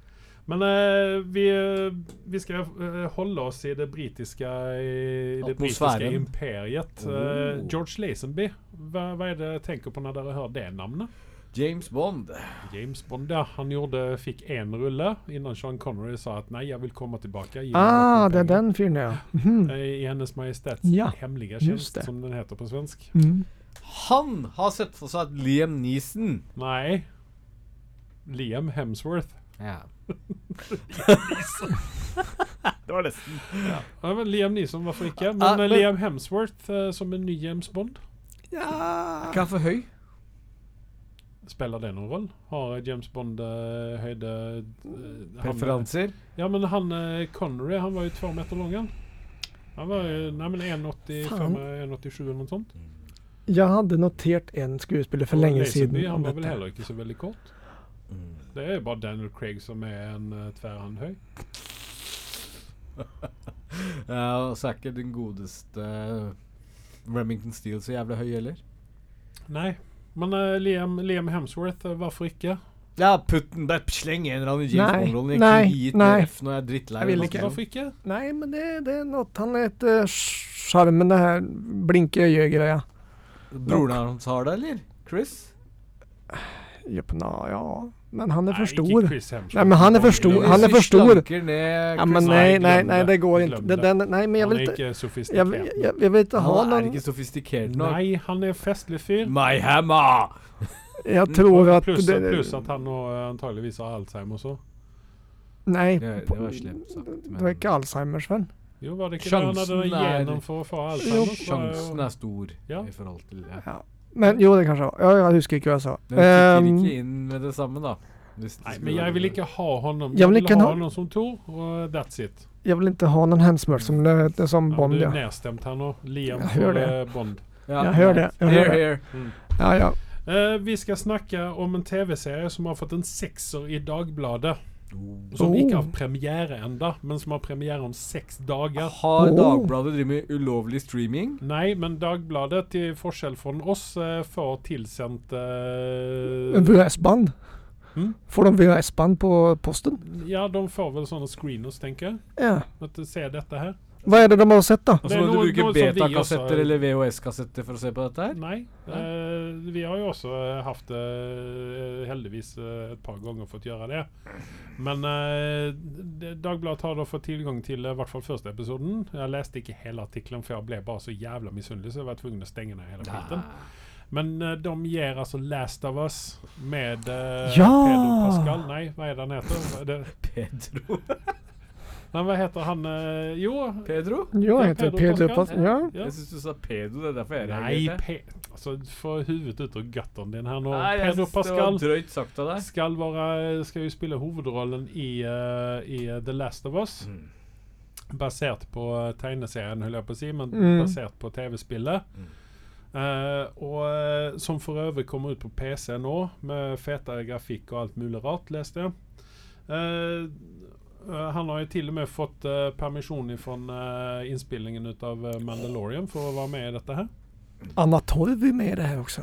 Men eh, vi, eh, vi ska eh, hålla oss i det brittiska, i det brittiska
Atmosfären.
imperiet. Eh,
Oh.
George Lazenby, vad vad är det jag tänker på när jag hör det namnet?
James Bond.
James Bond, ja. Han gjorde, fick en rulle innan Sean Connery sa att nej, jag vill komma tillbaka. Ge mig
Ah, det är
pengar."
den filmen ja. Mhm.
Eh, I Hennes Majestäts
Ja,
hemliga
just
tjänst,
det.
som den heter på svensk.
Mm.
Han har sett for seg at Liam Neeson
Nej. Liam Hemsworth.
Ja.
Det var nesten. Ja. Ja, men Liam Neeson, varför inte? Men,
Ah,
eh,
men-
Liam Hemsworth eh, som en ny James Bond.
Ja.
Ikke han for høy?
Spelar det någon roll? Har James Bond eh, höjde... eh, han-
Preferanser?
Ja men han eh, Connery, han var ju två meter lång han. Han var ju, nej men 1,85,
Fan.
1,87 eller något sånt.
Jag hade noterat en skådespelare för
Och
länge
Lazenby,
sedan.
Han
om
var väl
detta.
heller inte så väldigt kort. Det är ju bara Daniel Craig som är en uh, tvärhand hög.
Ja, og så er ikke den godeste Remington Steele så jævlig høy heller.
Nej, men eh, Liam, Liam Hemsworth, eh, varför inte?
Ja, putt den der, sleng en eller annen James
Nei,
Bond-rollen. Jeg
nei,
kunne gi den
nei.
F når jeg er drittlei.
Jeg vil
av
ikke.
den.
Varför inte?
Nej, men det, det är något. Han är ett eh, charmen det här blinka öga-greja.
Broren hans har det, eller? Chris?
Ja, på- na, ja, men han är för
Nej,
stor.
inte Chris Hemsworth.
Nej, men han är för stor.
Glöm
Han är
Hvis vi
för stor.
slanker Ned,
Ja, men
Chris-
nej, nej,
Nej, glöm
nej,
det.
det går
Glöm
inte. Det,
det.
den, nej, men jag
Han
vill inte.
är inte
Jag,
sofistikerad.
vill- jag, jag vill inte ha
han er
någon.
ikke sofistikert nok.
Nej, han är festlig fyr.
My hammer!
Jag tror att...
Plus,
det-
plus att han har, eh, antagligen har Alzheimer så.
Nej.
Det, det var slemt sagt.
Det var ikke Alzheimers, vel?
Jo, var det inte
Chansen
han hade
är-
genen för att få Alzheimer?
men
Så, eh,
Sjansen er stor
Ja.
i forhold til ja.
Ehm. Men jo, det kanskje var. Ja, jeg husker ikke hva jeg sa.
Den tikker
Ehm,
ikke inn med det samme, da. Hvis det
Nej,
skulle
men
være-
jag vill inte ha honom.
Jag
Jag
vill
vill
inte
ha
ha-
honom som Tor och eh, that's it.
jeg vil ikke ha noen hensmør som, det- som
Ja,
Bond,
du är
ja.
nedstämt här nu. Liam
Jag hör
för
det.
eh, Bond.
ja,
Jeg hører det. Jeg
Here,
hører det.
here.
Mm.
Ja, ja.
Eh, vi ska snacka om en tv-serie som har fått en sexer i Dagbladet. Som
Oh.
inte har premiär ända, men som har premiär om sex dagar.
Har
Oh.
Dagbladet drevet med ulovlig streaming?
Nej, men Dagbladet till forskel från oss eh, får tillsänt... eh,
En VHS-band.
Mm.
Får de VHS-band på posten?
Ja, de får vel sånne screeners, tenker jeg.
Ja.
At du ser dette her.
Vad är det de har sett då?
Og
Det
så
er
må Alltså, du
noe-
bruke
noe som vi også har-
betakassetter eller VHS-kassetter for å se på dette her?
Nei. Eh, vi har jo også haft det eh, heldigvis eh, et par ganger fått gjøre det. Men eh, det- Dagbladet har da fått tilgang til eh, i hvert fall første episoden. Jeg leste ikke hele artikkelen, for jeg ble bare så jævla misunnelig, så jeg var tvungen å stenge ned hele
Ah.
biten. Men eh, de gir altså Last of Us med eh,
Ja!
Pedro Pascal. Nei, hva er det han heter? Hva er Det,
Pedro
nei, hva heter han eh, Jo,
Pedro?
Jag
Ja,
heter
Pedro
Pedro
Pascal.
Pascal. Ja.
Ja.
Jeg syns du sa pedo, det er derfor jeg
Nei,
reagerte.
pe altså, få hodet ut av gutteren din her nå.
Nei, jeg
Pedro
synes det var
Pascal
drøyt sagt av deg.
skal, være, skal jo spille hovedrollen i, eh, i eh, The Last of Us.
Mm.
Basert på eh, tegneserien, holdt jeg på å si, men
Mm.
basert på TV-spillet.
Mm.
Eh, og eh, som for øvrig kommer ut på PC nå, med fetere grafikk og alt mulig rart, leste jeg. Eh, eh, han har jo til og med fått eh, permisjon fra innspillingen ut av eh, Mandalorian for å være med i dette her.
Anna Torv är med i det här också.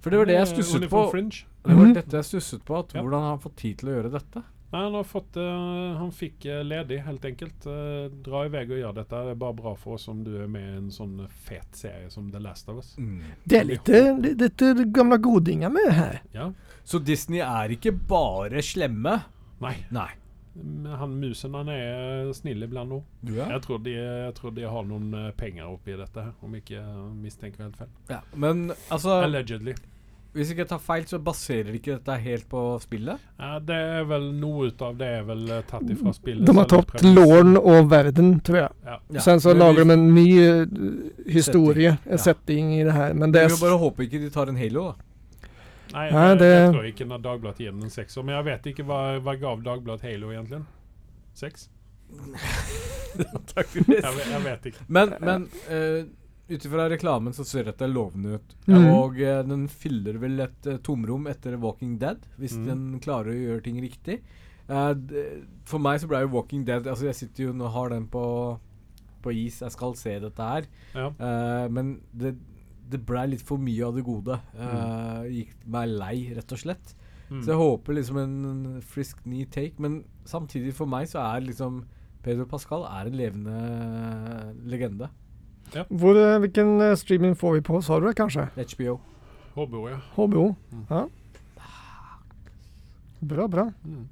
For det var det jeg
Eh,
stusset
hun er
på.
fra Fringe.
Det var
Mhm.
dette jeg stusset på. At
Ja.
Hvordan har han fått tid til å gjøre dette?
Nei, han har fått eh, Han fikk eh, ledig, helt enkelt. Eh, dra i vei og gjør dette. Det er bare bra for oss om du er med i en sånn fet serie som The Last of Us.
Det är lite, lite gamla godingar med här.
Ja.
Så Disney er ikke bare slemme.
Nei,
Nei.
men han musen han er snill iblant òg.
Du er?
Jeg, tror de- jeg tror de har noen eh, penger oppi dette, her, om ikke jeg mistenker helt feil.
Ja. Men altså
Allegedly.
Hvis ikke jeg tar feil, så baserer ikke dette helt på spillet.
Ja, det er vel noe ut av det er vel eh, tatt ifra spillet.
De har tagit
selve premissen.
lån och världen tror jag.
Ja.
Ja.
Sen så
Men
lagar
vi-
de en ny eh, historia,
Ja.
en setting i det här. Men det
Vi
är...
må bare håpe ikke de tar en Halo, da.
Nei,
Nei,
jeg,
det-
jeg tror ikke når Dagbladet gir den en sekser. Men jeg vet ikke hva, hva gav Dagbladet Halo, egentlig? Seks?
Takk
Jeg, ve- jeg vet ikke.
Men, men uh, ut ifra reklamen så ser dette lovende ut.
Mhm.
Og eh, den fyller vel et eh, tomrom etter Walking Dead, hvis
Mhm.
den klarer å gjøre ting riktig. Eh, d- for meg så ble jo Walking Dead Altså, jeg sitter jo nå og har den på, på is. Jeg skal se dette her.
Ja.
Eh, men det, det blei litt for mye av det gode. Eh, Gikk meg lei, rett og slett.
Mm.
Så jeg håper liksom en frisk ny take, men samtidig for meg så er liksom Pedro Pascal er en levende legende.
Hvor, eh, vilken eh, streaming får vi på, sa du det kanske?
HBO.
HBO, ja.
HBO?
Mm.
Ja. Bra, bra.
Mm.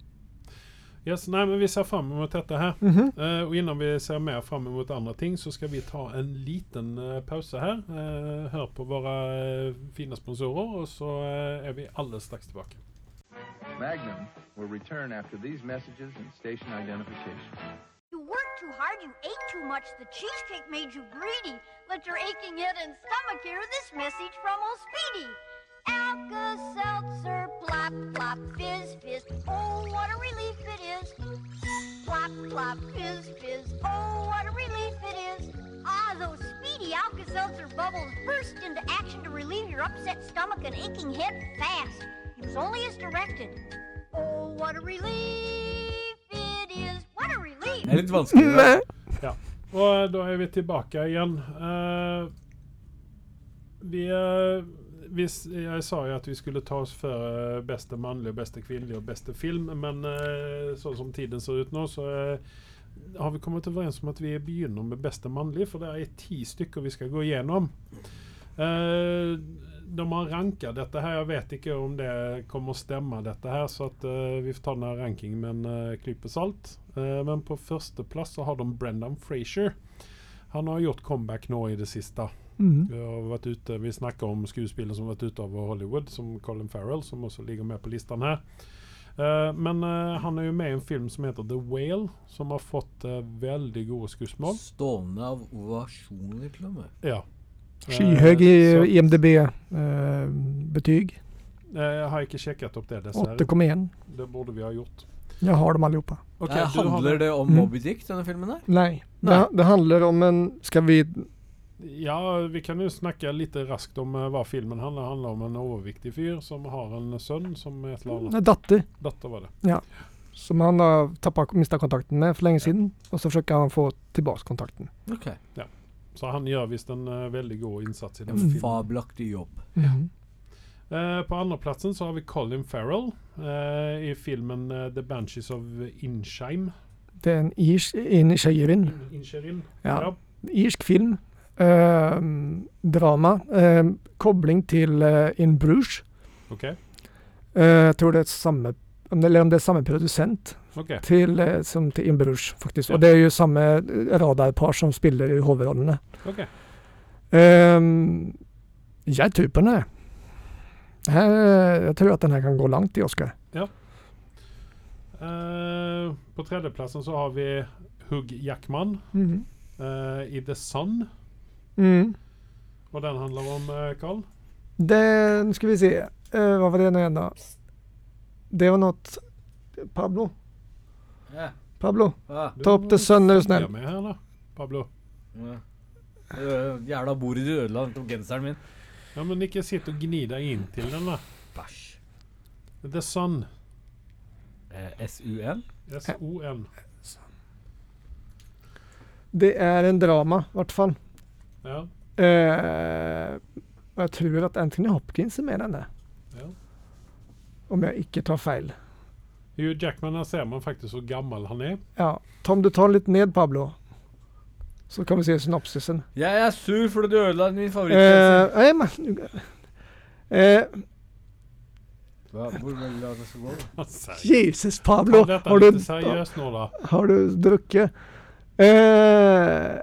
Yes, nei, men vi ser fram mot dette her.
Mhm.
Eh, og innan vi ser mer fram mot andre ting, så skal vi ta en liten eh, pause her. Eh, hør på våre eh, fine sponsorer, og så eh, er vi alle straks tilbake.
Magnum will return after these messages and station identification.
You worked too hard, you ate too much, the cheesecake made you greedy. Let your aching head and stomach hear this message from old Speedy. Alka-Seltzer, plop, plop, fizz, fizz, oh, what a relief it is. Plop, plop, fizz, fizz, oh, what a relief it is. Ah, those speedy Alka-Seltzer bubbles burst into action to relieve your upset stomach and aching head fast. It was only as directed. Oh, what a relief it is. What a relief.
Det er litt vanskelig. da.
Og eh, da er vi tilbake igjen. Eh, vi, eh, vi s- Jeg sa jo at vi skulle ta oss for eh, beste mannlige, beste kvinnelige og beste film, men eh, sånn som tiden ser ut nå, så eh, har vi kommet overens om at vi begynner med beste mannlige, for det er ti stykker vi skal gå igjennom. Eh, de har ranka dette her. Jeg vet ikke om det kommer å stemme, dette her, så at, eh, vi får ta den her rankingen med en eh, klype salt. Eh, men på førsteplass så har de Brendan Frazier. Han har gjort comeback nå i det siste.
Mm.
Vi har vært ute, vi snakker om skuespillere som har vært ute over Hollywood, som Colin Farrell, som også ligger med på listen her. Eh, men eh, han er jo med i en film som heter The Whale, som har fått eh, veldig gode skussmål.
Stående av ovasjoner, til og med.
Ja.
Skyhög
Eh, så,
i IMDB-betyg.
eh, jeg har ikke sjekket opp det, dessverre.
8,1.
Det borde vi ha gjort.
Jag har dem allihopa.
Ok,
Eh,
du har
handler det om
Mm.
Moby Dick, denne filmen her?
Nej.
Nej.
Det, det handlar om en, ska vi,
Ja, vi kan jo snakke litt raskt om eh, hva filmen handler, handler om. En overviktig fyr som har en sønn som er et eller annet
en dotter
Datter var det.
som han har tappat, mista kontakten med för länge sedan. Och så försöker han få tillbaka kontakten.
Ok.
Mm,
Så han gjør visst en eh, veldig god innsats i den
En
filmen.
Mhm.
fabelaktig jobb.
Eh, på andreplatsen så har vi Colin Farrell eh, i filmen eh, The Banshees of Insheim.
Det är en irsk, in Shirin.
Incherin.
Ja. irsk film. eh, drama. eh, kobbling til eh, In Bruges.
Okej.
Eh, jeg tror det er samme om det, Eller om det er samme produsent
Okej.
til, eh, som til In Bruges, faktisk.
Ja.
Og det er jo samme eh, radarpar som spiller i hovedrollene.
Okej.
Eh, jeg tror typ på den her. Her, eh, Jeg tror at den her kan gå langt i Oscar.
Eh, på tredjeplatsen så har vi Hugh Jackman
Mm.
eh, i The Sun. Och den handlar om, eh, Carl?
Den skal vi se. Eh, hva var det nå igjen, da? Det var något Pablo.
Ja.
Pablo,
Ja.
Du
ta opp The Sun, er du
är
snill.
med här, eller? Pablo?
Ja. Øh, Jævla bordet du ødela nettopp genseren min.
Ja, men Nicke, sitt och gnida in till den där.
Bæsj.
The Sun.
Eh, SUN?
S-O-N.
Det er en drama, i hvert fall.
Ja.
Eh, og jeg tror at Anthony Hopkins er med i denne,
ja.
om jeg ikke tar feil.
Hugh Jackman, här ser man faktiskt hur gammal han är.
Ja. Tom, du tar litt ned, Pablo. Så kan vi se synopsisen.
Jeg er sur fordi du ødela min
Eh,
favoritt.
nei, men, eh,
Hva- Hvor vil du at jeg skal gå? da?
Han säger.
Jesus, Pablo!
Ta detta
Har du,
lite seriöst några.
har du drukket? Eh,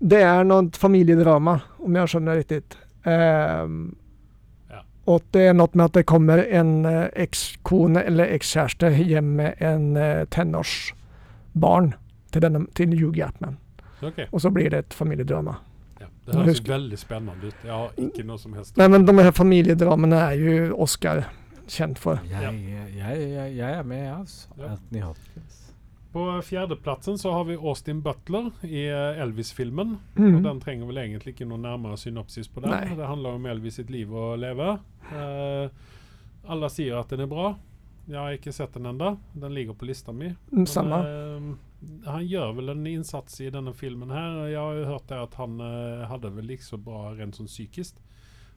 det er noe familiedrama, om jeg skjønner riktig. Eh,
Ja.
Og det er noe med at det kommer en eh, ekskone eller ekskjæreste hjem med en eh, tenårsbarn til, denne, til Hugh Jackman.
Okej.
Og så blir det et familiedrama.
Ja. Det
Men
här
hur
ser
ska-
väldigt spännande ut. Jag har icke något som helst.
Nei, men de her familiedramene er jo Oscar kjent for.
Jeg, jeg, jeg, jeg er med, jeg, altså.
Ja.
Anthony Hopkins.
På fjärdeplatsen så har vi Austin Butler i eh, Elvis-filmen.
Mm.
Og den trenger vel egentlig ikke noe nærmere synopsis på den.
Nei.
Det handler om Elvis sitt liv og leve. Eh, alle sier at den er bra. Jeg har ikke sett den ennå. Den ligger på lista mi.
Mm,
Men,
samme.
eh, han gjør vel en innsats i denne filmen her. Jeg har jo hørt det at han eh, hadde vel ikke så bra rent sånn psykisk.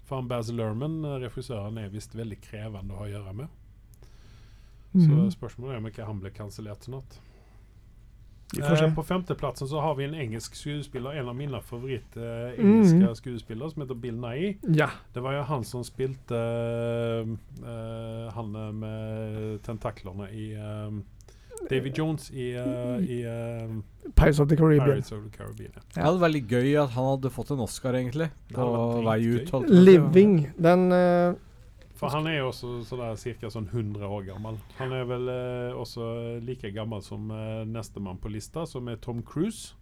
For han Baz Lerman, eh, regissøren, er visst veldig krevende å ha å gjøre med. Så
Mm.
spørsmålet er om ikke han ble kansellert snart.
Vi får se.
Eh, på femteplatsen så har vi en engelsk skuespiller, en av mine favoritt-engelske
Mm.
skuespillere, som heter Bill Nye.
Ja.
Det var jo han som spilte eh, eh, han eh, med tentaklene i eh, Davy Jones i, eh, i eh,
Pirates of the Caribbean.
Pirates of the Caribbean. ja.
Det hadde vært veldig gøy at han hadde fått en Oscar, egentlig.
Det
På
hadde vært
vei
dritgøy.
ut. holdt jeg på å si.
Living, den eh,
For han er jo også sådär, cirka sånn 100 år gammel. Han er vel eh, også like gammel som eh, nestemann på lista, som er Tom Cruise.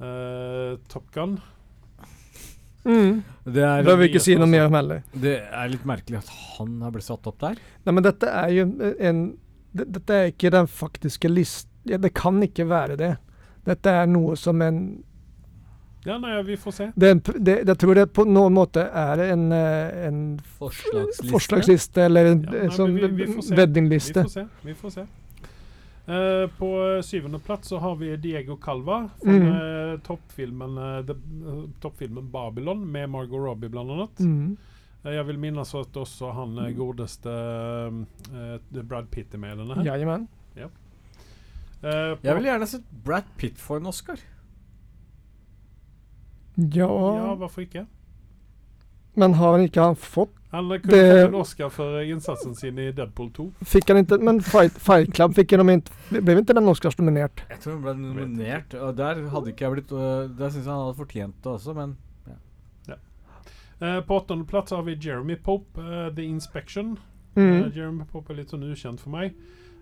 Eh, Top Gun.
mm.
Det er,
Behøver vi ikke si noe mer
alltså.
om heller.
det er litt merkelig at han har blitt satt opp der.
Nei, men dette er jo en det- Dette er ikke den faktiske list... Ja, det kan ikke være det. Dette er noe som en
Ja, nei, vi får se.
det, er en pr- det, Jeg tror det på noen måte er en, eh, en
Forslagsliste.
forslagsliste eller en,
Ja, nei,
en sånn
men vi- vi får se. Vi
weddingliste.
får se. Vi får se. Eh, på eh, syvende plats så har vi Diego Calva från
Mm.
eh, toppfilmen, eh, the, eh, toppfilmen Babylon med Margot Robbie bland annat.
Mm.
Eh, jag vill minnas att också han eh, godeste eh, Brad Pitt är med i den här.
Jajamän.
Eh, på,
Jeg ville gjerne sett Brad Pitt få en Oscar.
Ja,
Ja
varför inte?
Men har han ikke han fått
Han eh,
Det-
kunde fått en Oscar för insatsen sin i Deadpool 2.
Fikk han ikke Men Fight, fight Club fikk han ikke Ble ikke den Oscars-nominert?
Jeg tror han ble nominert, og der hadde ikke jeg blitt øh, Der syns jeg han hadde fortjent det også, men
Eh, på åttonde plats har vi Jeremy Pope, eh, The Inspection.
Mm.
Eh, Jeremy Pope är lite sån ukänd för mig.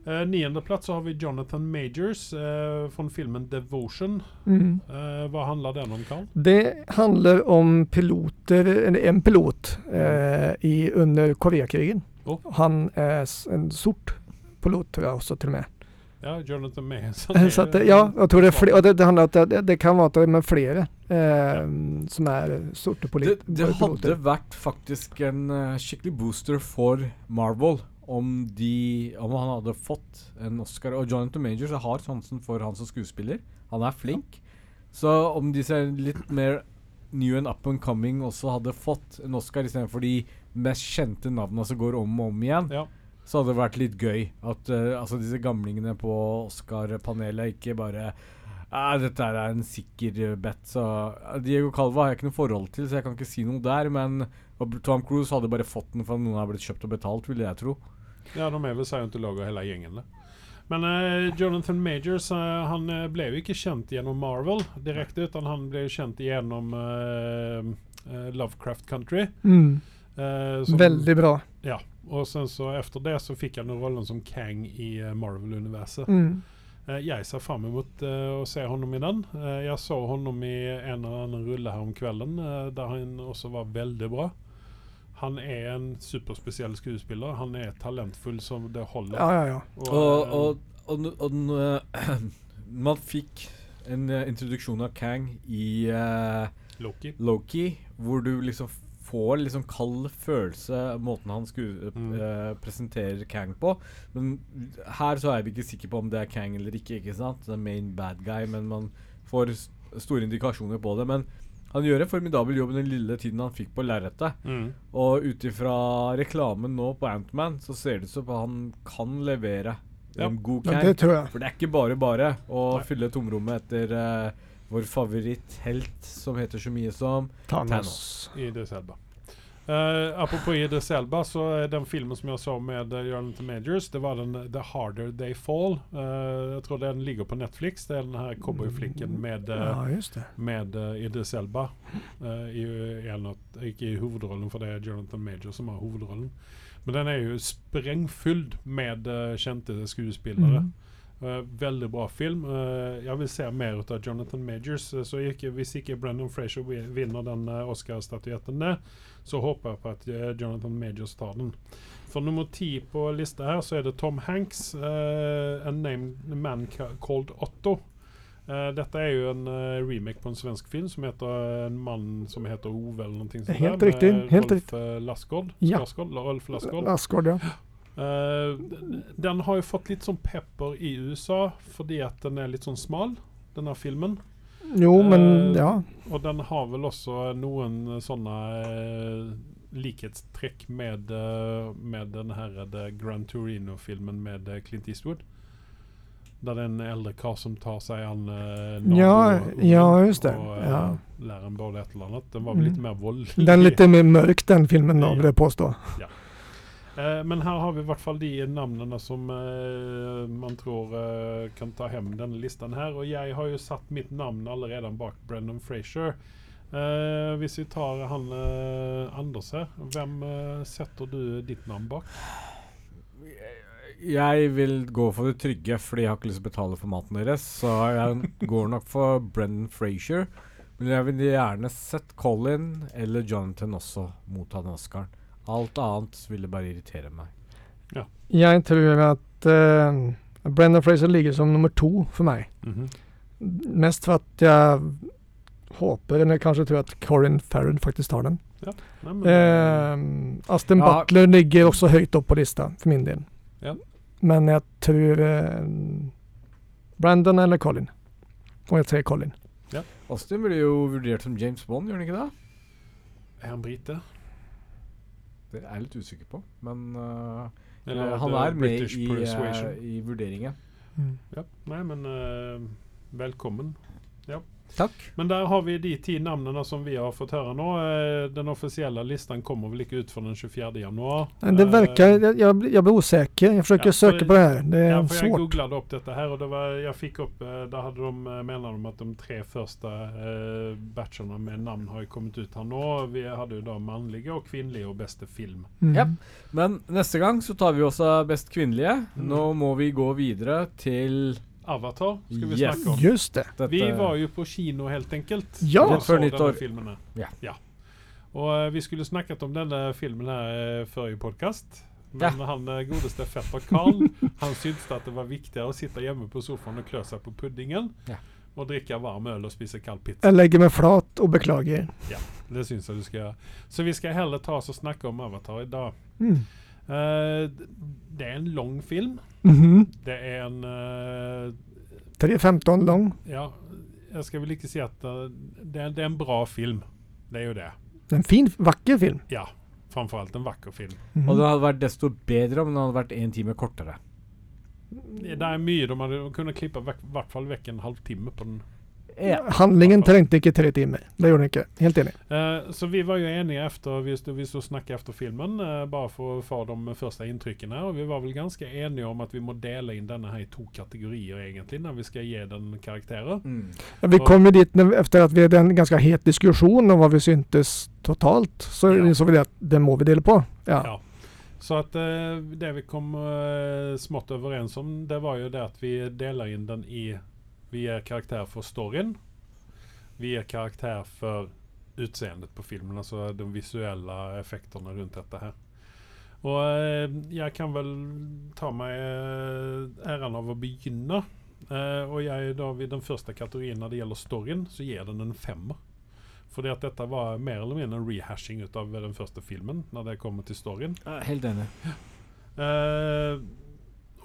Eh, nionde plats så har vi Jonathan Majors eh, från filmen Devotion.
Mm.
Eh, vad handlar den om Carl?
Det handler om piloter, eller en pilot eh, i, under Koreakrigen.
Oh.
Han er s- en sort pilot, tror jeg også, til og med. Eh,
Ja, Jonathan Majors.
Så at, det- ja, jeg tror det, er fle- og det, det handler om at det- det, det kan være at det er flere eh, som er sorte
det,
polit-
det hadde
piloter.
vært faktisk en øh, skikkelig booster for Marvel om de Om han hadde fått en Oscar. Og Jonathan Majors jeg har sansen for han som skuespiller. Han er flink. Så om de ser litt mer new and up and coming også hadde fått en Oscar istedenfor de mest kjente navnene som går om og om igjen,
Ja.
så hadde det vært litt gøy at eh, altså disse gamlingene på Oscar-panelet ikke bare «Ah, dette her er en sikker eh, bet, så eh, Diego Calva har jeg ikke noe forhold til, så jeg kan ikke si noe der, men og Tom Cruise hadde bare fått den for noen har blitt kjøpt og betalt, ville jeg tro.
Ja, de är väl scientologer hela gängen. där. Men eh, Jonathan Majors, eh, han eh, blev ju inte känd genom Marvel direkt utan han blev känd genom eh, eh, Lovecraft Country.
Mm.
Eh, som-
Väldigt bra.
Ja, och sen så efter det så fick han rollen som Kang i eh, Marvel-universet.
Mm.
Eh, Jag ser fram emot eh, att se honom i den. Eh, Jag såg honom i en eller annan rulle häromkvällen eh, där han också var väldigt bra. Han är en superspeciell skådespelare. Han är talentfull som det håller.
Ja, ja, ja.
Och,
Og,
eh,
og, og, n- og den, eh, man fikk en eh, introduksjon av Kang i eh,
Loki.
Loki, hvor du liksom får liksom kald følelse måten han sku,
Mm.
eh, presenterer Kang på. Men her så er vi ikke sikre på om det er Kang eller ikke, ikke sant? Det er main bad guy, men man får s- store indikasjoner på det. Men han gjør en formidabel jobb den lille tiden han fikk på lerretet.
Mm.
Og ut ifra reklamen nå på Antman, så ser det ut som han kan levere
Ja.
en god
Men
Kang.
det tror jag.
For det er ikke bare bare å
Nei.
fylle tomrommet etter eh, vår favoritthelt som heter så mye som
Thanos.
Thanos.
Idris Elba. Uh, apropå Idris Elba så är den filmen som jag såg med eh, Jonathan Majors, det var den eh, The Harder They Fall. Eh, jag tror den ligger på Netflix. Det är den här cowboyflicken med, eh,
Mm. Ja, just det.
med eh, Idris Elba. Uh, i, en av, ikke i huvudrollen, för det är Jonathan Majors som har huvudrollen. Men den är ju sprängfylld med uh, kända skådespelare.
Mm.
Eh, veldig bra film. Eh, jeg vil se mer ut av Jonathan Majors. eh, så ikke, hvis ikke Brendan Fraser vi- vinner den eh, Oscar-statyetten, der, så håper jeg på at eh, Jonathan Majors tar den. For nummer ti på lista her, så er det Tom Hanks. eh, A Named Man Ca- Called Otto. Eh, dette er jo en eh, remake på en svensk film som heter eh, En mann som heter Ove, eller noe sånt.
Helt
der, med
riktig, helt
Rolf eh, Lassgård.
Ja.
Lassgård, Rolf Lassgård.
Asgård, ja.
Eh, den- den har ju fått lite sån pepper i USA fordi att den är lite sån smal, den här filmen.
Jo, men
Eh,
ja.
Och den har väl också någon sådana eh, likhetsträck med, eh, med den här eh, The Gran Torino-filmen med eh, Clint Eastwood. Där det är en äldre karl som tar sig an eh,
Ja,
naboungen
ja, just det.
Och eh,
Ja.
lär en både ett eller annat. Den var väl
Mm.
lite mer våldlig.
Den lite mer mörk den filmen då,
Ja.
vill jag påstå.
Eh, men her har vi i hvert fall de navnene som eh, man tror eh, kan ta hjem denne listen her. Og jeg har jo satt mitt navn allerede bak Brendan Frazier. Eh, hvis vi tar han eh, Anders her, hvem eh, setter du ditt navn bak?
Jeg vil gå for det trygge, fordi jeg har ikke lyst til å betale for maten deres. Så jeg går nok for Brendan Frazier. Men jeg vil gjerne sett Colin eller Jonathan også motta den Oscaren. Alt annet ville bare irritere meg.
Jag tror att eh, Brendan Fraser ligger som nummer två för mig.
Mhm.
Mest för att jag hoppas, eller kanske tror att Corin Farren faktiskt tar den.
Nei, men, eh,
Ehm, Aston
Ja.
Butler ligger också högt upp på listan för min del.
Ja.
Men jag tror eh, Brandon eller Colin. Om jag säger Colin.
Austin blir jo vurdert som James Bond, gjør han ikke det?
er han brite?
Det er jeg litt usikker på, men øh,
Eller
han
det
er med
British
i,
Persuasion?
øh, i vurderingen.
Ja. Nei, men eh, velkommen.
Takk.
Men der har vi de ti navnene som vi har fått høre nå. Eh, Den offisielle listen kommer vel ikke ut før den 24. januar.
Men Det
Eh,
verkar, jag, jag, blir- jag blir osäker. Jag försöker
Ja, för-
söka på det här. Det är
Eh,
Ja, för jag
svårt.
googlade upp detta här och det var, jag fick upp, eh, där hade de, eh, menade de att de tre första eh, batcherna med namn har ju kommit ut här nu. Vi hade ju då manliga och kvinnliga och bästa film.
Mm.
Ja. Men neste gang så tar vi også best kvinnelige.
Mm.
Nå må vi gå videre til
Avatar ska vi
Yes. eh.
snacka om.
Just det.
dette.
Vi var ju på kino helt enkelt.
Ja.
och
Rätt för
såg den här
nytt år.
filmen här.
Ja.
Och eh, vi skulle snackat om den där filmen här eh, förr i podcast. Men han eh, godeste fetter Karl, han syntes att det var viktigare att sitta hemma på soffan och klö sig på puddingen.
Ja.
Och dricka varm öl och spisa kall pizza.
Jag lägger mig flat och beklagar er.
Det syns jeg du skal gjøre. Så vi skal heller ta oss og snakke om Avatar i dag.
Mm.
Eh, d- det er en lang film.
Mhm.
Det er en eh,
3.15 lång.
Ja, jeg skal vel ikke si at eh, det, er, det er en bra film. Det er jo det.
En fin, vacker film.
Ja. Framfor alt en vakker film.
Mhm.
Og den hadde vært desto bedre om den hadde vært én time kortere.
Det er mye de hadde de kunne klippe vekk, i hvert fall vekk en halvtime på den.
Mm. Eh, Handlingen trengte ikke tre timer. Det gjorde den ikke. Helt enig.
Eh, så vi var ju eniga efter, vi stod, vi stod och snackade efter filmen, eh, bara för att få de första intrycken här. Och vi var väl ganska eniga om att vi må dela in denna här i två kategorier egentligen, när vi ska ge den karaktärer.
Mm.
Vi kom ju dit när, efter att vi hade en ganska het diskussion om vad vi syntes totalt. Så
Ja.
insåg vi det att det må vi dela på. Ja.
Ja. Så att eh, det vi kom eh, smått överens om, det var ju det att vi delar in den i, vi ger karaktär för storyn, vi ger karaktär för utseendet på filmen, alltså de visuella effekterna runt detta här. Och eh, jag kan väl ta mig eh, äran av att begynna. Eh, och jag är då vid den första kategorin när det gäller storyn, så ger den en femma. För det att detta var mer eller mindre en rehashing utav den första filmen när det kommer till storyn.
Helt enig.
Eh,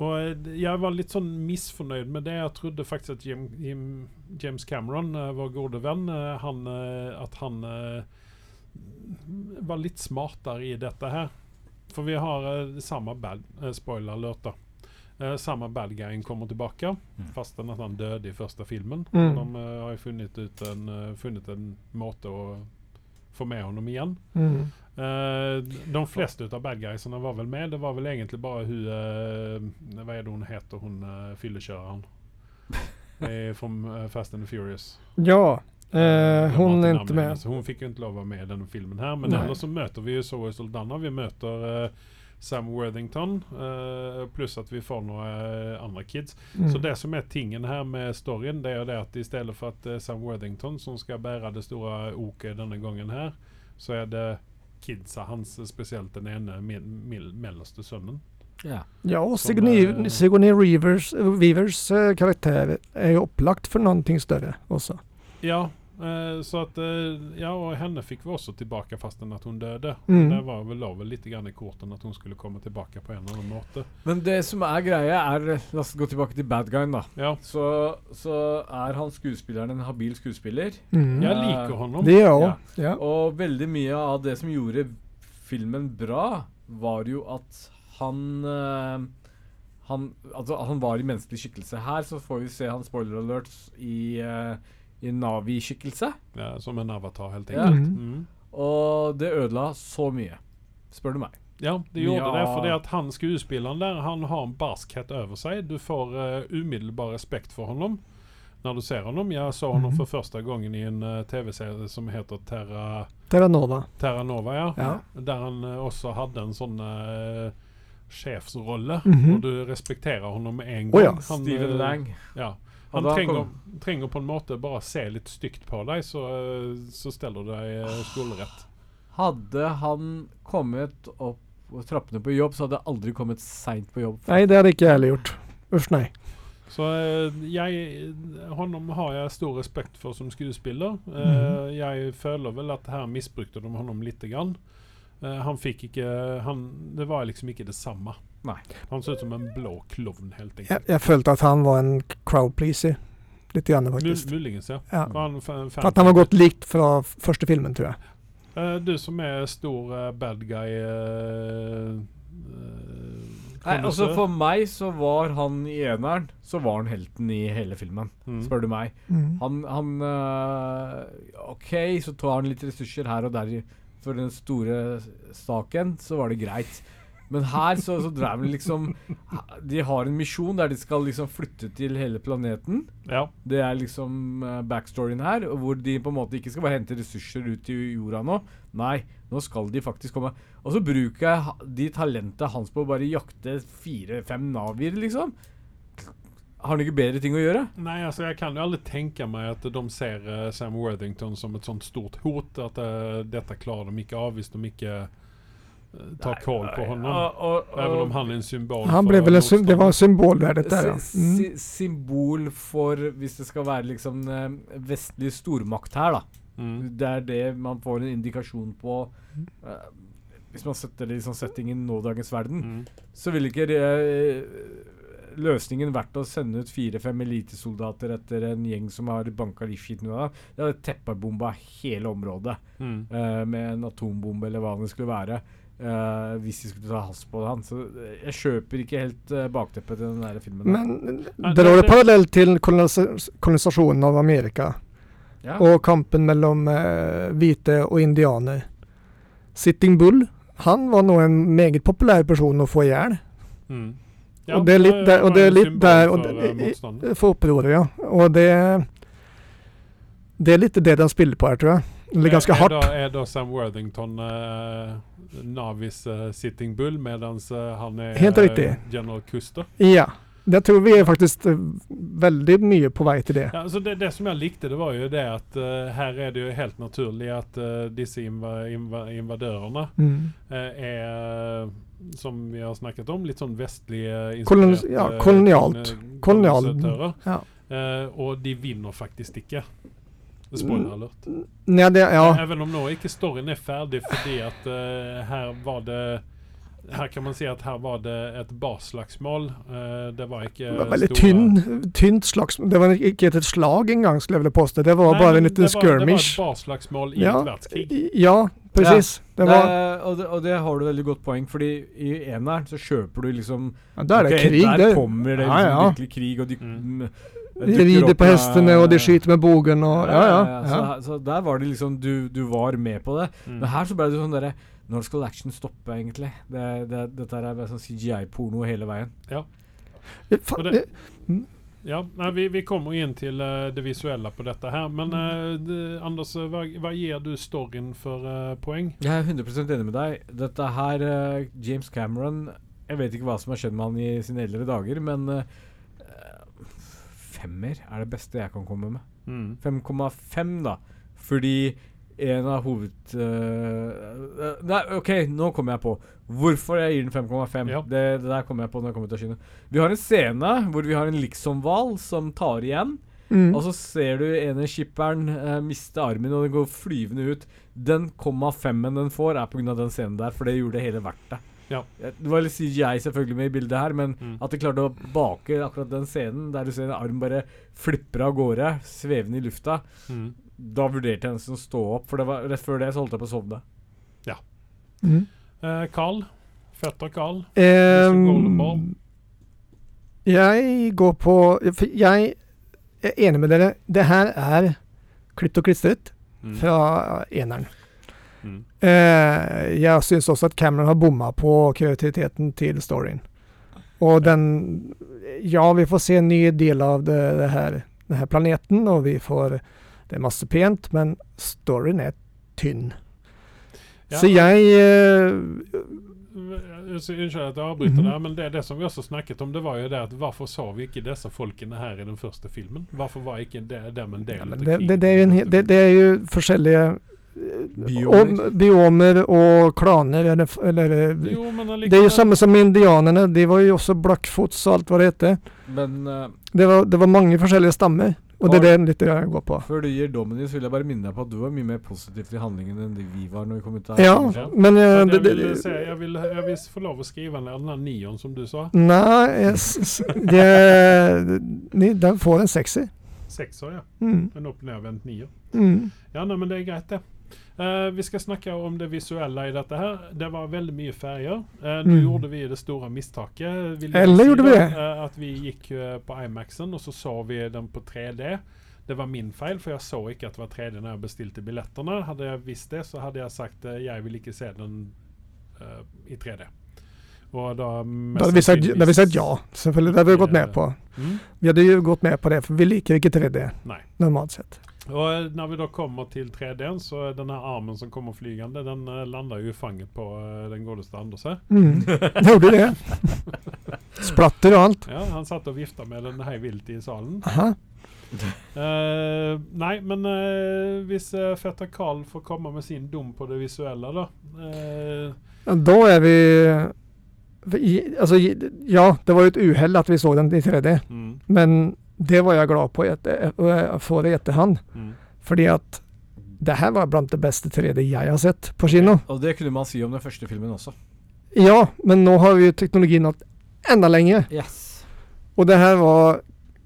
og eh, jeg var litt sånn misfornøyd med det. Jeg trodde faktisk at Jim, Jim, James Cameron, eh, vår gode venn, eh, han, eh, at han eh, var litt smartere i dette her. For vi har eh, samme bad eh, Spoiler alert, da. Eh, samme bad guyen kommer tilbake, fastän at han døde i første filmen.
Mm.
De eh, har jo funnet, ut en, eh, funnet en måte å få med honom igjen.
Mm.
Eh, de flesta utav bad guysarna var väl med. Det var väl egentligen bara hur... eh, vad är det hon heter, hon uh, fylleköraren? Eh, Från eh, Fast and the Furious.
ja.
Jag
Eh,
har
hon är
namnet
inte
henne,
med.
så alltså, hon fick ju inte lov att vara med i den filmen här. Men
Nej.
ändå så möter vi ju Zoe Saldana. Vi möter eh, Sam Worthington. eh, plus att vi får några eh, andra kids. Så
Mm.
det som är tingen här med storyn det är det att istället för att eh, Sam Worthington som ska bära det stora oket denna gången här så är det kidsa hans, eh, speciellt den ene mil- mil- mellerste sönnen.
Ja.
Ja, och
som, eh,
Sigourney, Sigourney Reavers, Weavers eh, karaktär är ju upplagt för någonting större också.
Ja, eh, så att eh, ja, och henne fick vi också tillbaka fastän att hon döde.
Mm.
Det var väl låg väl lite grann i korten att hon skulle komma tillbaka på en annan måte.
Men det som er greia, er La oss gå tilbake til bad guyen, da.
Ja,
Så, så er han skuespilleren en habil skuespiller.
Mm.
jag
Ja.
liker honom.
Det gör jag.
Ja.
Ja.
Og veldig mye av det som gjorde filmen bra, var jo at han eh, han, altså, han var i menneskelig skikkelse. Her så får vi se han spoiler alerts i, eh, i Navi-skikkelse.
Ja, eh, som en avatar helt
Ja.
enkelt.
Mm.
Mm.
Og det ødela så mye, spør du meg.
Ja, det gjorde
Ja.
det. För det att han skuespelaren där, han har en barskhet över sig. Du får uh, omedelbar respekt för honom när du ser honom. Jag såg honom
Mhm.
för första gången i en eh, tv-serie som heter Terra,
Terranova.
Terra Nova, ja.
Ja.
Där han eh, också hade en sån eh, chefsrolle.
Mhm.
Och du respekterar honom med en gång.
Oh ja,
Han,
Steven
eh,
Lang.
Ja. Han
Ja, da
tränger,
kom-
tränger på en måte bara se lite styggt på dig så, eh, så ställer du dig uh, skolrätt.
Hadde han kommet opp trappene på jobb, så hadde jeg aldri kommet seint på jobb.
Nej, det hade inte jag heller gjort. Usch nej.
Så eh, jeg, honom har jeg stor respekt for som skuespiller. Eh,
Mhm.
jeg føler vel at her misbrukte de honom lite grann. Eh, han fikk ikke han, Det var liksom ikke det samme.
Nei.
Han så ut som en blå klovn, helt
Jag,
enkelt.
jag följde att han var en crowd pleaser. Lite grann
Mul
faktiskt.
muligens, ja.
Ja.
Var han fa- en fan-
För att han var gott likt från första filmen tror jag.
Eh, du som er stor eh, bad guy eh, eh,
Nei, altså
kondisør.
For meg så var han i eneren så var han helten i hele filmen,
Mm.
spør du meg.
Mm.
Han, han øh, OK, så tar han litt ressurser her og der i- for den store staken, så var det greit. Men her så, så drev han liksom De har en misjon der de skal liksom flytte til hele planeten.
Ja.
Det er liksom eh, backstoryen her, og hvor de på en måte ikke skal bare hente ressurser ut i jorda nå. Nei, nå skal de faktisk komme. Og så bruker jeg ha- de talentene hans på å bare jakte fire-fem navier, liksom. Har han ikke bedre ting å gjøre?
Nej, alltså jag kan ju aldrig tänka mig att de ser eh, Sam Worthington som ett sånt stort hot. Att eh, detta klarar de inte av. Visst de inte eh, tar koll på honom.
Og, og,
Även om han är en symbol
Han
för
blev väl en, sym-
motstånd.
det var symbolvärdet där ja.
sy
Mm.
sy- Symbol for hvis det skal være liksom eh, vestlig stormakt her, da.
Mm.
Det er det man får en indikasjon på
Mm.
eh, Hvis man setter det i sånn setting i nådagens verden.
Mm.
så vil ikke eh, løsningen vært å sende ut fire-fem elitesoldater etter en gjeng som har banka livskiten ut av deg? De hadde teppebomba hele området
Mm.
eh, med en atombombe eller hva det skulle være. eh, hvis de skulle ta has på han. Så eh, jeg kjøper ikke helt eh, bakteppet til den der filmen. der.
Men
Nei,
drar
det-
du
det-
parallell til kolonisa- kolonisasjonen av Amerika
ja.
og kampen mellom eh, hvite og indianer? Sitting Bull, han var nå en meget populær person å få i hjel.
Mm.
Og det er litt der- og
var
det er
en
litt
symbol
der, og
for,
det-
eh, motstanden.
For opproret, ja. Og det Det er litt det de spiller på her, tror jeg. Eller ganske
Er-
hardt.
Er da, er da Sam Worthington eh, Navis eh, Sitting Bull, mens han er
Helt
eh,
riktig.
General Custer?
Ja. Jeg tror vi er faktisk eh, veldig mye på vei til det.
Ja, altså det, det som jeg likte, det var jo det at eh, her er det jo helt naturlig at eh, disse inva, inva, invadørene
Mm.
eh, er, som vi har snakket om, litt sånn vestlig eh,
Koloni-
inspirert,
ja,
eh,
kolonialt.
koloni-
Kolonial-
kolonisatører.
ja.
Eh, og de vinner faktisk ikke. Spoiler alert.
Nei, det, Mm. ja.
Even om nå ikke storyen er ferdig, fordi at eh, her var det her kan man si at her var det et barslagsmål. Eh, det var ikke
Det var veldig
store-
tynn, tynt slags Det var ikke et slag engang, skulle jeg ville påstå. Det var
Nei,
bare en
men
liten
det var- Det
skirmish.
var et barslagsmål i
Ja.
et verdenskrig.
I- Ja, presis. Det
Nei,
var
Eh, og, det, og det har du veldig godt poeng, fordi i eneren så kjøper du liksom
ja, Der er det
Ok,
krig,
der.
der.
kommer det
Ja,
liksom
ja.
virkelig krig, og de,
Mm.
mm.
De rider på hestene, og de skyter med bogen, og Ja, ja.
Så,
ja.
så der var det liksom Du, du var med på det.
Mm.
Mm.
Men her så ble det sånn derre Når skal action stoppe, egentlig? Det, det, dette her er bare sånn CGI-porno hele veien.
Fa-
Og det- Ja, nej, vi, vi kommer in till eh, det visuella på detta här. Men
Mm.
eh, det- Anders, eh, vad, vad ger du storyn för eh, poäng?
Jeg er 100 enig med deg. Dette her eh, James Cameron Jeg vet ikke hva som har skjedd med han i sine eldre dager, men eh, eh, Femmer er det beste jeg kan komme med.
Mm.
5,5 da Fordi en av hoved... eh, eh, nei, ok, nå kommer jeg på Hvorfor jeg gir den 5,5
Ja.
det, det der kommer jeg på når jeg kommer til å skinne Vi har en scene hvor vi har en liksomval Som tar igjen
Mm.
Og så ser du ene skipperen eh, miste armen Og den går flyvende ut Den 0,5-en den får er på grunn av den scenen der For det gjorde det hele verdt det
Ja.
Eh, Det var litt CGI selvfølgelig med i bildet her Men
Mm.
at de klarte å bake akkurat den scenen Der du ser en arm bare flipper av gårde Svevende i lufta
Mm.
da vurderte jeg nesten å stå opp, for det var, rett før det så holdt jeg på å sovne.
Mm.
Eh, Carl? Fetter Carl?
Ehm,
Golden Ball.
jeg går på for Jeg er enig med dere. Det her er klippet og klistret fra eneren.
Mm.
Eh, jeg syns også at Cameron har bomma på kreativiteten til storyen. Og den Ja, vi får se en ny del av det, det her, den her planeten, og vi får Det er masse pent, men storyen er tynn.
Ja,
Så jeg eh,
eh, så Unnskyld at jeg avbryter
Mm.
der, men det, det som vi også snakket om, det var jo det at hvorfor så vi ikke disse folkene her i den første filmen? Hvorfor var ikke det, dem en del
ja,
av
men det,
krigen?
det, det, er jo en, he- det, det er jo forskjellige
Biomer.
eh, Om, biomer og klaner, eller, f- eller
Jo, men
Det er jo
allikevel-
samme som indianerne. De var jo også blackfoots og alt hva det heter.
Men eh,
Det var, det var mange forskjellige stammer, og det er det litt jeg går på.
før du gir dommen din, så vil jeg bare minne deg på at du var mye mer positiv til handlingen enn det vi var når vi kom ut av
Ja,
Ja.
men eh,
Men
det,
jeg
det,
vil, se, jeg, vil, jeg vil få lov å skrive ned den her nion som du sa.
Nei, jeg eh, s- s- det, ni, den får en sekser.
Sekser, ja.
Mm.
En opp nedvendt nier.
Mm.
Ja, nei, men det er greit, det. Eh, vi skal snakke om det visuelle i dette her. Det var veldig mye farger. Eh, nå
Mm.
gjorde vi det store mistaket. vil jeg
Eller
si
gjorde
da,
vi det?
eh, at vi gikk eh, på Imaxen, og så så vi den på 3D. Det var min feil, for jeg så ikke at det var 3D når jeg bestilte billettene. Hadde jeg visst det, så hadde jeg sagt eh, jeg vil ikke se den eh, i 3D. Og da
Da hadde vi sagt, da hadde vi sagt ja, selvfølgelig. Det hadde vi gått med på.
Mm.
Vi hadde jo gått med på det, for vi liker ikke 3D
Nei.
normalt sett.
Og når eh, vi da kommer til 3D-en, så er denne armen som kommer flygende, den eh, lander jo i fanget på eh, den godeste Anders her.
Mm. Jeg gjorde det. Splatter og alt.
Ja, han satt og vifta med den hei vilt i salen.
Aha.
Eh, nei, men eh, hvis eh, fetter Karl får komme med sin dom på det visuelle, da eh,
Ja, da er vi for i- Altså, i- ja, det var jo et uhell at vi så den i 3D,
mm,
men det var jeg glad på i et- eh, for i etterhånd.
mm.
Fordi at det her var blant det beste 3D jeg har sett på kino.
Og det kunne man si om den første filmen også.
Ja, men nå har vi jo teknologien nått enda lenger.
Yes.
Och det här var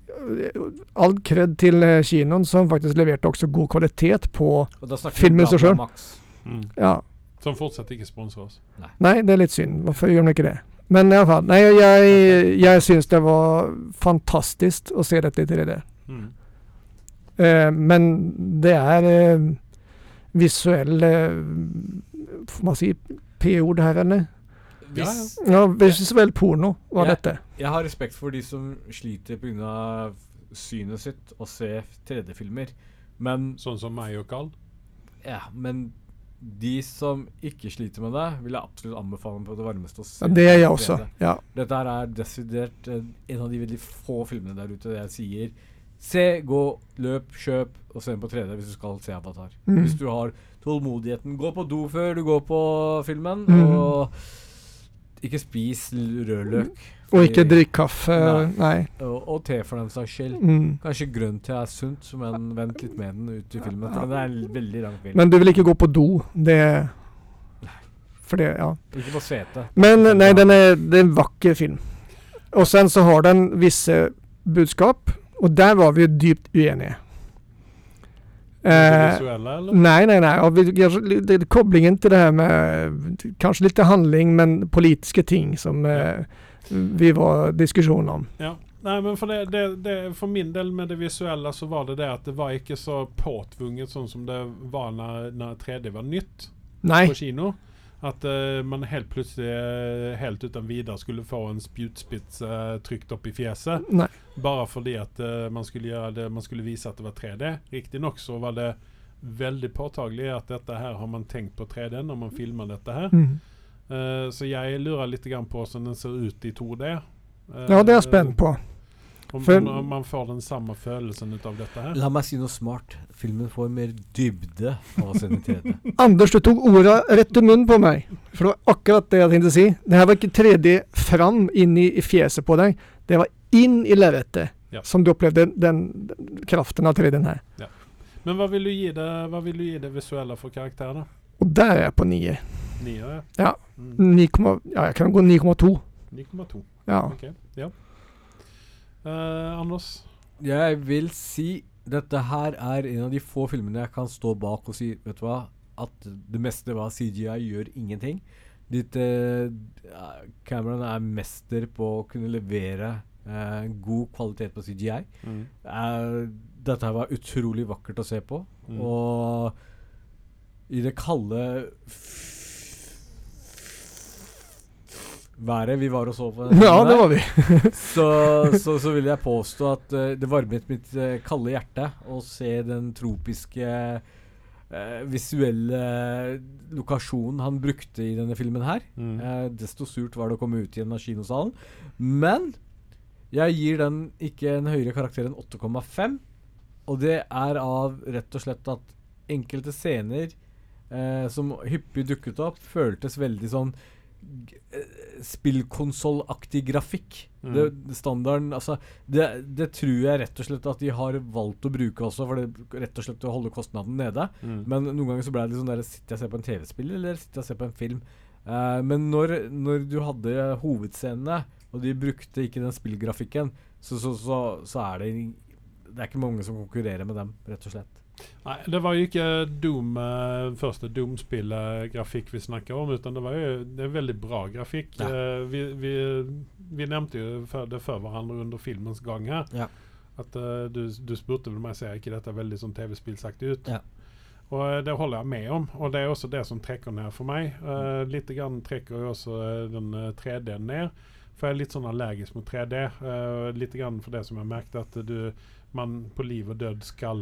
eh, all cred till eh, kinon som faktiskt leverte också god kvalitet på,
Og da snakker
Filmregissør.
Blabla Max.
Mm.
ja,
Som fortsatt ikke sponser oss.
nej det är lite synd, varför gör de inte det? Men i alla fall, nej jag, jag syns det var fantastiskt att se detta till det där.
Mm.
Eh, men det är eh, visuell, eh, får man säga p-ord här eller?
Hvis
Ja, visuell porno var
Ja.
detta.
Jeg har respekt for de som sliter pga. synet sitt å se 3D-filmer. Men,
Sånn som meg og Carl.
ja, men de som ikke sliter med det, vil jeg absolutt anbefale på det varmeste å se.
Det är jag
3D.
också. Ja.
Dette her er desidert eh, en av de veldig få filmene der ute der jeg sier Se, gå, løp, kjøp og se den på 3D hvis du skal se Avatar.
Mm.
Hvis du har tålmodigheten. Gå på do før du går på filmen,
Mm.
og ikke spis l- rødløk.
Och
fordi-
inte drick kaffe,
Nej.
nej.
og, og te, for den saks skyld.
Mm.
Kanskje grønn te er sunt, men vent litt med den ut i filmen. For det er en veldig lang film.
Men du vill inte gå på do. Det... För det, ja.
ikke på sete.
Men nej, den är, det är en vacker film. Och sen så har den vissa budskap. Och där var vi ju dypt oeniga.
det
Eh,
visuelle, eller?
nej, nej, nej. Och vi, kanske li- det, kopplingen till det här med eh, kanske lite handling men politiska ting som eh, vi var diskussion om.
Ja. Nei, men for, det, det, det, for min del med det visuelle så var det det at det var ikke så påtvunget sånn som det var når, når 3D var nytt
Nej,
på kino. At eh, man helt plutselig, eh, helt uten videre, skulle få en spjutspiss eh, trykt opp i fjeset.
nej.
Bare fordi at eh, man, skulle gjøre det, man skulle vise at det var 3D. Riktignok så var det veldig påtagelig at dette her har man tenkt på 3D når man filmer dette her.
Mm.
Eh, så jeg lurer litt grann på hvordan den ser ut i 2D. Eh,
Ja, det är jag spänd på.
Om,
For-
om, om man får den samme følelsen ut av dette her.
La meg si noe smart. Filmen får mer dybde av å se den i 3D.
Anders, du tok orda rett i munnen på meg. For det var akkurat det jeg tenkte å si. Det her var ikke 3D fram inn i, i fjeset på deg. Det var inn i lerretet
Ja.
som du opplevde den, den kraften av 3D-en her.
Men hva vil du gi det, hva vil du gi det visuelle for karakter, da?
Og der er jeg på 9.
Nier?
Ja.
Mm,
9, ja, jeg kan gå 9,2.
9,2.
Ja.
OK. Ja. Eh, Anders?
Jeg vil si dette her er en av de få filmene jeg kan stå bak og si Vet du hva? At det meste var CGI, gjør ingenting. Ditt eh, Cameron er mester på å kunne levere eh, god kvalitet på CGI. Eh, dette her var utrolig vakkert å se på.
Mm.
Og i det kalde været vi var og så
Mm.
på den
ja,
filmen
det
her,
var vi.
så, så, så vil jeg påstå at eh, det varmet mitt eh, kalde hjerte å se den tropiske eh, visuelle lokasjonen han brukte i denne filmen her.
Mm.
Eh, desto surt var det å komme ut igjen av kinosalen. Men jeg gir den ikke en høyere karakter enn 8,5. Og det er av rett og slett at enkelte scener eh, som hyppig dukket opp, føltes veldig sånn g- eh, spillkonsollaktig grafikk.
Mm.
Det, standarden Altså, det, det tror jeg rett og slett at de har valgt å bruke også, for det rett og slett å holde kostnaden nede.
Mm.
Men noen ganger så ble det litt sånn der Sitter jeg og ser på en TV-spill, eller sitter jeg og ser på en film? Eh, men når, når du hadde hovedscenene, og de brukte ikke den spillgrafikken, så, så, så, så er det Det er ikke mange som konkurrerer med dem, rett og slett.
Nei, det var jo ikke Doom, eh, første Doom-spillet-grafikk vi snakker om, utan det var jo det er veldig bra grafikk.
Ja.
Eh, vi, vi, vi nevnte jo for, det for hverandre under filmens gang her.
Ja.
At eh, du, du spurte vel meg ser ikke dette veldig sånn TV-spillsaktig ut.
Ja.
Og eh, det holder jeg med om, og det er også det som trekker ned for meg. Eh, litt grann trekker jo også eh, den eh, 3D-en ned. For jeg er litt sånn allergisk mot 3D. eh, litt grann for det som jeg merket at du, man på liv og død skal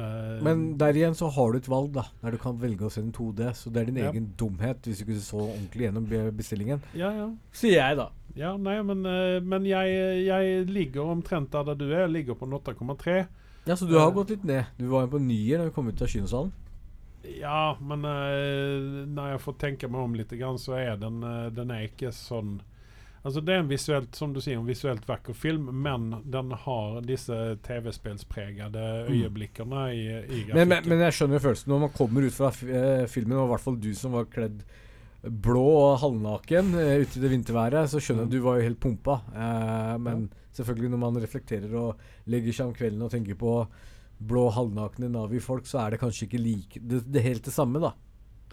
eh,
Men der igjen så har du et valg, da. Der du kan velge å se den 2D. Så det er din
Ja.
egen dumhet hvis du ikke så ordentlig gjennom be- bestillingen.
Ja, ja.
Sier jeg, da.
ja nei, men, eh, men jeg, jeg ligger omtrent der du er. Jeg ligger på en 8,3.
Ja, Så du har gått litt ned. Du var jo på nier da vi kom ut av kinosalen.
Ja, men eh, når jeg får tenke meg om litt, grann, så er den, eh, den er ikke sånn Altså Det er en visuelt som du sier, en visuelt vakker film, men den har disse TV-spillspregede øyeblikkene i, i grafikken.
Mm. Men, men, men jeg skjønner jo følelsen når man kommer ut fra fi- eh, filmen, og i hvert fall du som var kledd blå og halvnaken eh, ute i det vinterværet, så skjønner jeg at du var jo helt pumpa. Eh, men selvfølgelig når man reflekterer og legger seg om kvelden og tenker på blå, halvnakne Navi-folk, så er det kanskje ikke like det, det helt det samme, da.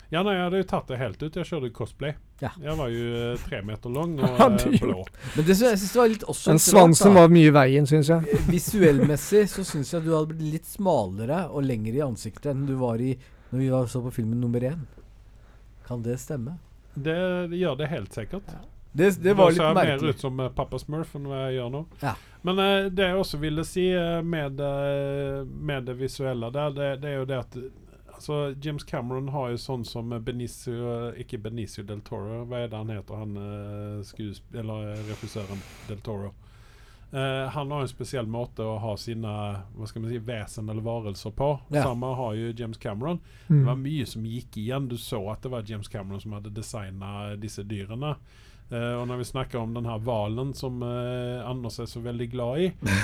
Ja, nei, jeg hadde jo tatt det helt ut. Jeg kjørte cosplay.
Ja.
Jeg var jo eh, tre meter lang og
Ja, du
eh, blå.
Men det synes jeg synes det var litt også
Men
litt rart,
svansen
da.
var mye i veien, syns jeg.
Visuellmessig så syns jeg du hadde blitt litt smalere og lengre i ansiktet enn du var i når vi var så på filmen nummer én. Kan det stemme?
Det, det gjør det helt sikkert.
Det, det var
Da ser
litt
jeg mer
merkelig.
ut som eh, pappa Smurf enn hva jeg gjør nå.
Ja.
Men eh, det jeg også ville si eh, med, eh, med det visuelle der, det, det er jo det at eh, altså, James Cameron har jo sånn som eh, Benicio eh, Ikke Benicio del Toro, hva er det han heter, han eh, skuesp... Eller eh, regissøren del Toro. Eh, han har en spesiell måte å ha sine hva skal man si, vesen eller varelser på.
Ja.
Samme har jo James Cameron. Det var
Mm.
mye som gikk igjen. Du så at det var James Cameron som hadde designa disse dyrene. Eh, og når vi snakker om den her hvalen som eh, Anders er så veldig glad i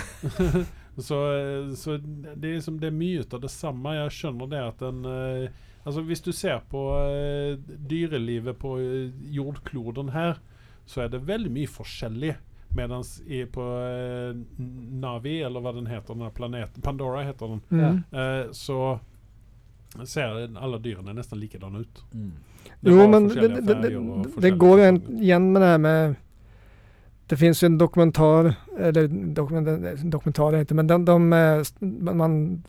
Så, eh, så det, er liksom, det er mye ut av det samme. Jeg skjønner det at en eh, Altså Hvis du ser på eh, dyrelivet på eh, jordkloden her, så er det veldig mye forskjellig. Mens i, på eh, Navi, eller hva den heter, den her planeten Pandora heter den.
Mm.
Eh, så ser alle dyrene nesten likedan ut.
Mm.
Det er
Jo,
bare
men det,
forskjellige
det,
färger och
det, det
forskjellige
går ju en-
säsonger.
igen med det här med... Det finns ju en dokumentar, eller dokument, dokumentar är det inte, men den, de, eh, s- man, man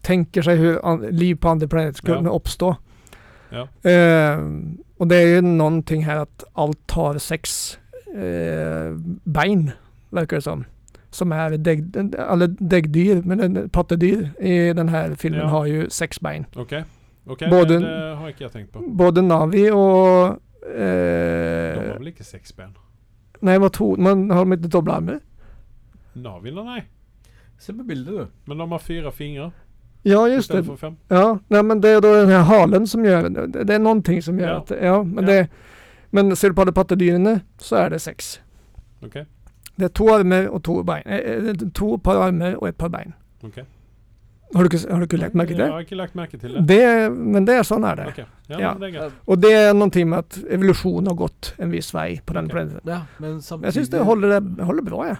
tänker sig hur an, liv på andra planeter skulle
Ja.
kunna uppstå.
Ja.
Eh, och det är ju någonting här att allt har sex eh, bein, verkar det som. Som är dägg, eller däggdyr, men en pattedyr i den här filmen
Ja.
har ju sex bein.
Okej. Okej,
Både-
det har ikke jeg tenkt på.
Både Navi och...
De
Eh,
har vel ikke seks ben?
Nej, vad tog, men har de inte dobblarmer?
Navila, nei.
Se på bildet, du.
Men de har fire fingre
Ja, just det.
istedenfor fem.
Ja, nej, men det är då den här halen som gör det. Det- Det är någonting som gör
Ja.
att det. Ja, men,
Ja.
Det, men ser du på alla pattedyrene så är det sex.
Okej.
Det är två armar och två bein. Eh, eh, två par armar och ett par bein.
Okej.
Har du, ikke- har du ikke lagt märke till
Jeg
det?
har ikke lagt merke til det.
det? Men det är sån är det.
Ok, Ja,
Ja.
men det er greit.
Och det är någonting med att evolution har gått en viss väg på den
Okej.
planeten.
Ja, men
Men
samtidig
Jag syns det håller, det håller bra ja.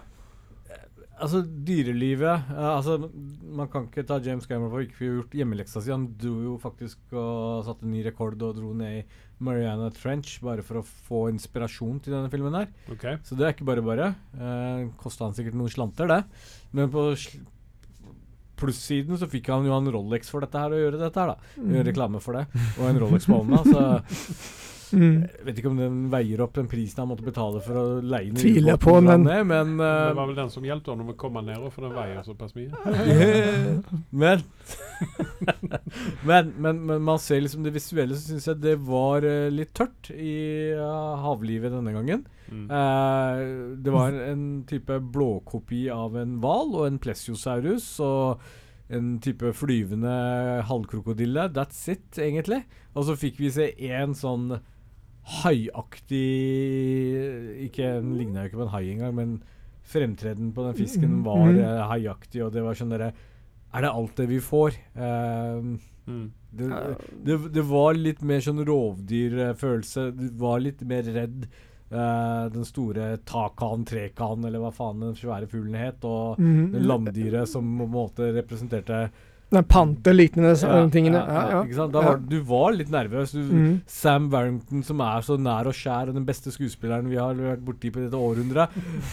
Altså, dyrelivet eh, Altså, man kan ikke ta James Cameron for ikke å ha gjort hjemmeleksa si. Han dro jo faktisk og satte ny rekord og dro ned i Mariana Trench bare for å få inspirasjon til denne filmen her.
Ok.
Så det er ikke bare bare. Eh, Kosta han sikkert noen slanter, det. Men på sl- plussiden så fikk han jo en Rolex for dette her å gjøre dette her, da. Gjøre reklame for det. Og en Rolex på hånda, så
Mm.
jeg vet ikke om den veier opp den prisen han måtte betale for å leie den
Tviler
ubåten
på,
hvor han
men-
er, men
Det
Ehm.
eh,
var vel den som hjalp ham å komme ned, for den veier såpass mye.
Men, men, men, men man ser liksom det visuelle, så syns jeg det var eh, litt tørt i eh, havlivet denne gangen.
Mm.
Eh, det var en type blåkopi av en hval og en plesiosaurus og en type flyvende halvkrokodille. That's it, egentlig. Og så fikk vi se én sånn haiaktig Ikke Den ligna jo ikke på en hai engang, men fremtreden på den fisken var
Mhm.
eh, haiaktig, og det var sånn derre Er det alt det vi får? Eh,
Mm.
det, det, det var litt mer sånn rovdyrfølelse. Du var litt mer redd eh, den store takan, trekan, eller hva faen den svære fuglen het, og det
Mm.
landdyret som på en måte representerte
Den panter liknande
Ja,
ja, tingene.
ja,
Ja, ja.
Ikke sant? Da var, du var litt nervøs. Du,
Mm.
Sam Warrington, som er så nær og skjær, og den beste skuespilleren vi har vært borti på dette århundret,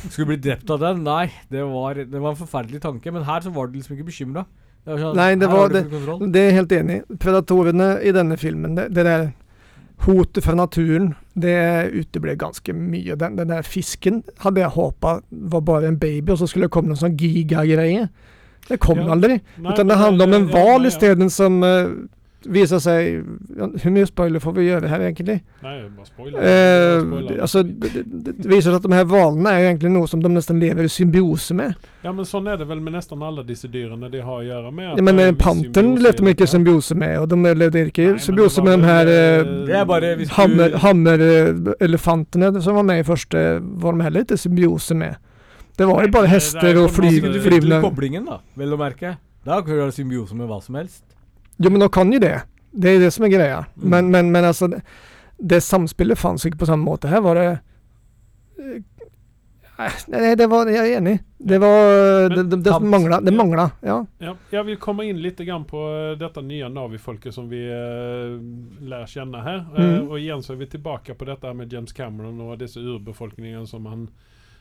skulle bli drept av den. Nei, det var, det var en forferdelig tanke. Men her så var du liksom ikke bekymra. Sånn,
Nei, det
her
var
har du
det-
full kontroll.
Mm. Det er jeg helt enig. i. Predatorene i denne filmen, det, det der hotet fra naturen, det uteble ganske mye. Den, den der fisken hadde jeg håpa var bare en baby, og så skulle det komme noen sånn gigagreie. Det kom
Ja.
aldri.
Nei,
Utan det
men,
handler om en
eh, ja,
hval
nei, ja.
isteden som uh, viser seg ja, Hvor mye spoiler får vi gjøre her, egentlig?
Nei, jeg bare spoiler.
Eh,
Spoiler.
altså, det, det det viser seg at de her hvalene er jo egentlig noe som de nesten lever i symbiose med.
Ja, men sånn er det vel med nesten alle disse dyrene de har å gjøre med. at
Ja, men
det
eh,
er en viss
panteren
symbiose
levde de
i
ikke i
dette.
symbiose med, og de eh, levde ikke
Nei,
i
men
symbiose
det var
med de her
vel,
eh,
eh,
Det er bare hvis
Hammer,
du
hammerelefantene som var med i første, var de heller ikke i symbiose med. Det var jo bare
Nei, men det er
hester
jo
og
på
fly,
en måte-
Du fikk til
flyvende
koblingen, da, vel å merke. Da kan du ha symbiose med hva som helst.
Jo, men de kan jo det. Det er jo det som er greia.
Mm.
Men, men, men alltså, altså, det, det samspillet fantes ikke på samme måte. Her var det eh, Nej, det var, jag är enig. Det var, det, det, det
tamt.
mangla, det mangla. Ja.
Ja, jag vill komma in lite grann på eh, detta nya Navi-folket som vi eh, lär känna här. Eh,
Mm.
och igen så är vi tillbaka på detta med James Cameron och dessa urbefolkningen som han,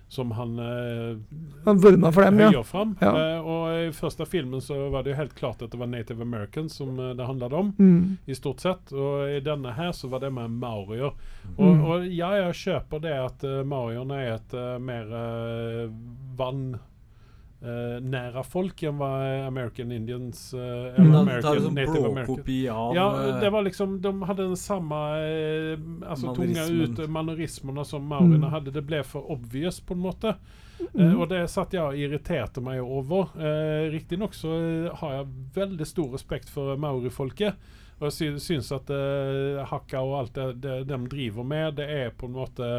som han eh,
Man vurmar för dem ja.
höjer fram.
Ja.
Eh, och i första filmen så var det ju helt klart att det var Native Americans som eh, det handlade om.
Mm.
I stort sett. Och i denna här så var det med maorier.
Mm.
Och, och ja, jag köper det att uh, maorierna är ett eh, mer uh, vann eh, nära folk än vad eh, American Indians eh,
Mm.
eller
De
tar det
American
som
Native American.
bråkopi av
Ja,
eh,
det var liksom, de hade en samma, eh, alltså tunga
Mannerismen.
ut mannerismerna som maorierna
Mm.
hade. Det blev för obvious på något måte.
Mm.
Eh, och det satt jag och irriterade mig över. Eh, riktigt nog så eh, har jag väldigt stor respekt för maorifolket. Och jag sy- syns att eh, hacka och allt det, det de driver med, det är på något eh,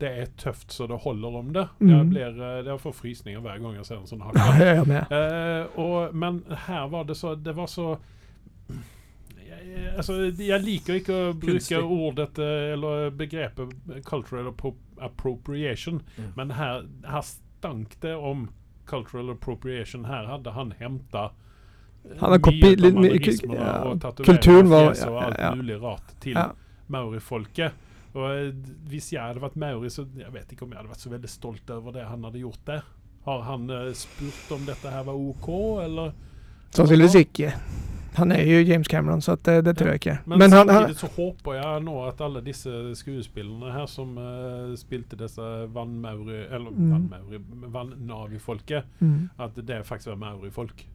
det är tufft så det håller om det.
Mm.
Jag, blir, eh, jag får frysningar varje gång jag ser en sån hacka.
Ja, jag är med.
Eh, och, men här var det så, det var så... Eh, Alltså, jag liker inte att
Konstigt.
bruka ordet eh, eller begreppet cultural appro- appropriation.
Mm.
Men här, här stank det om cultural appropriation. Här hade han hämtat eh,
Han har kopi-
mycket av
li-
mannerismerna
ja,
och
kulturen
tatueringar
var-
och fjäs
ja,
och
ja,
allt
ja.
möjligt rart till
Ja.
maorifolket. Och eh, visst, jag hade varit maori så jag vet inte om jag hade varit så väldigt stolt över det han hade gjort där. Har han eh, spurt om detta här var OK eller?
Sannsynligtvis icke. Han är ju James Cameron så att det, det tror jag inte.
Men,
Men, han, han,
samtidigt så hoppas jag nog att alla dessa skuespillarna här som uh, spilte dessa Van Mauri, eller
Mm.
Van Mauri, Van Navi-folket,
mm.
att det faktiskt var Mauri-folk.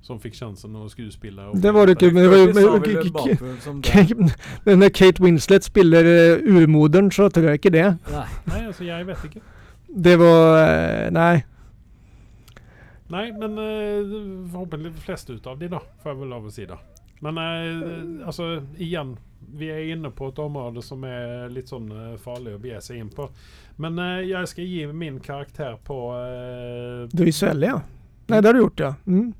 Som fick chansen att skuespela. och
Det var det
berätta.
kul. Men det var ju...
Curtis har
men-
vi väl
k- k-
bakgrund som det.
Kate- Men när Kate Winslet spelar eh, urmodern så tror jag inte det.
Nej.
Nej, alltså jag vet inte.
Det var... eh, Nej.
Nej, men eh, förhoppningsvis de flesta utav det då, får jag väl av och sida. Men
Mm.
eh, alltså igen, vi är inne på ett område som är lite sån eh, farlig att bege sig in på. Men eh, jag ska ge min karaktär på... Eh,
Du är ju svällig ja. Nej, det har du gjort ja. Mm.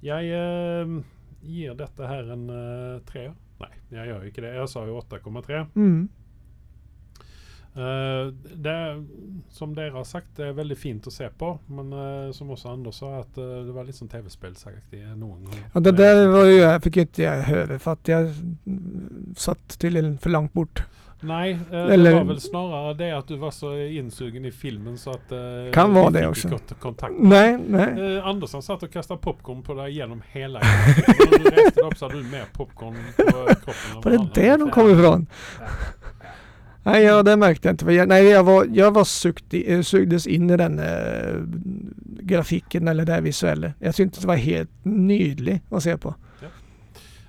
jag eh, ger detta här en eh, tre. Nej, jag gör ju inte det. Jag sa ju 8,3.
Mm.
Eh, det, är- som Dera har sagt, det är väldigt fint att se på. Men eh, som också Anders sa, att eh, det var lite som tv-spelsaktigt någon gång.
Ja, det där var ju... Jag fick ju inte jag höra för att jag mm, satt tydligen för långt bort.
Nej, eh,
Eller-
det var väl snarare det att du var så insugen i filmen så att... Eh,
Kan vara det
vi fick
också.
gott Kontakt.
Nej, nej.
Eh, Andersson satt och kastade popcorn på dig genom hela filmen. När du reste dig upp så hade du mer popcorn på kroppen. än
Var
vad
det
alla
där
hade.
de kom ifrån? Nej, ja, det märkte jag inte. För jag- Nej, jag var, jag var sukt i, eh, sugdes in i den eh, grafiken eller det här visuella. Jag tyckte det var helt nydlig att se på.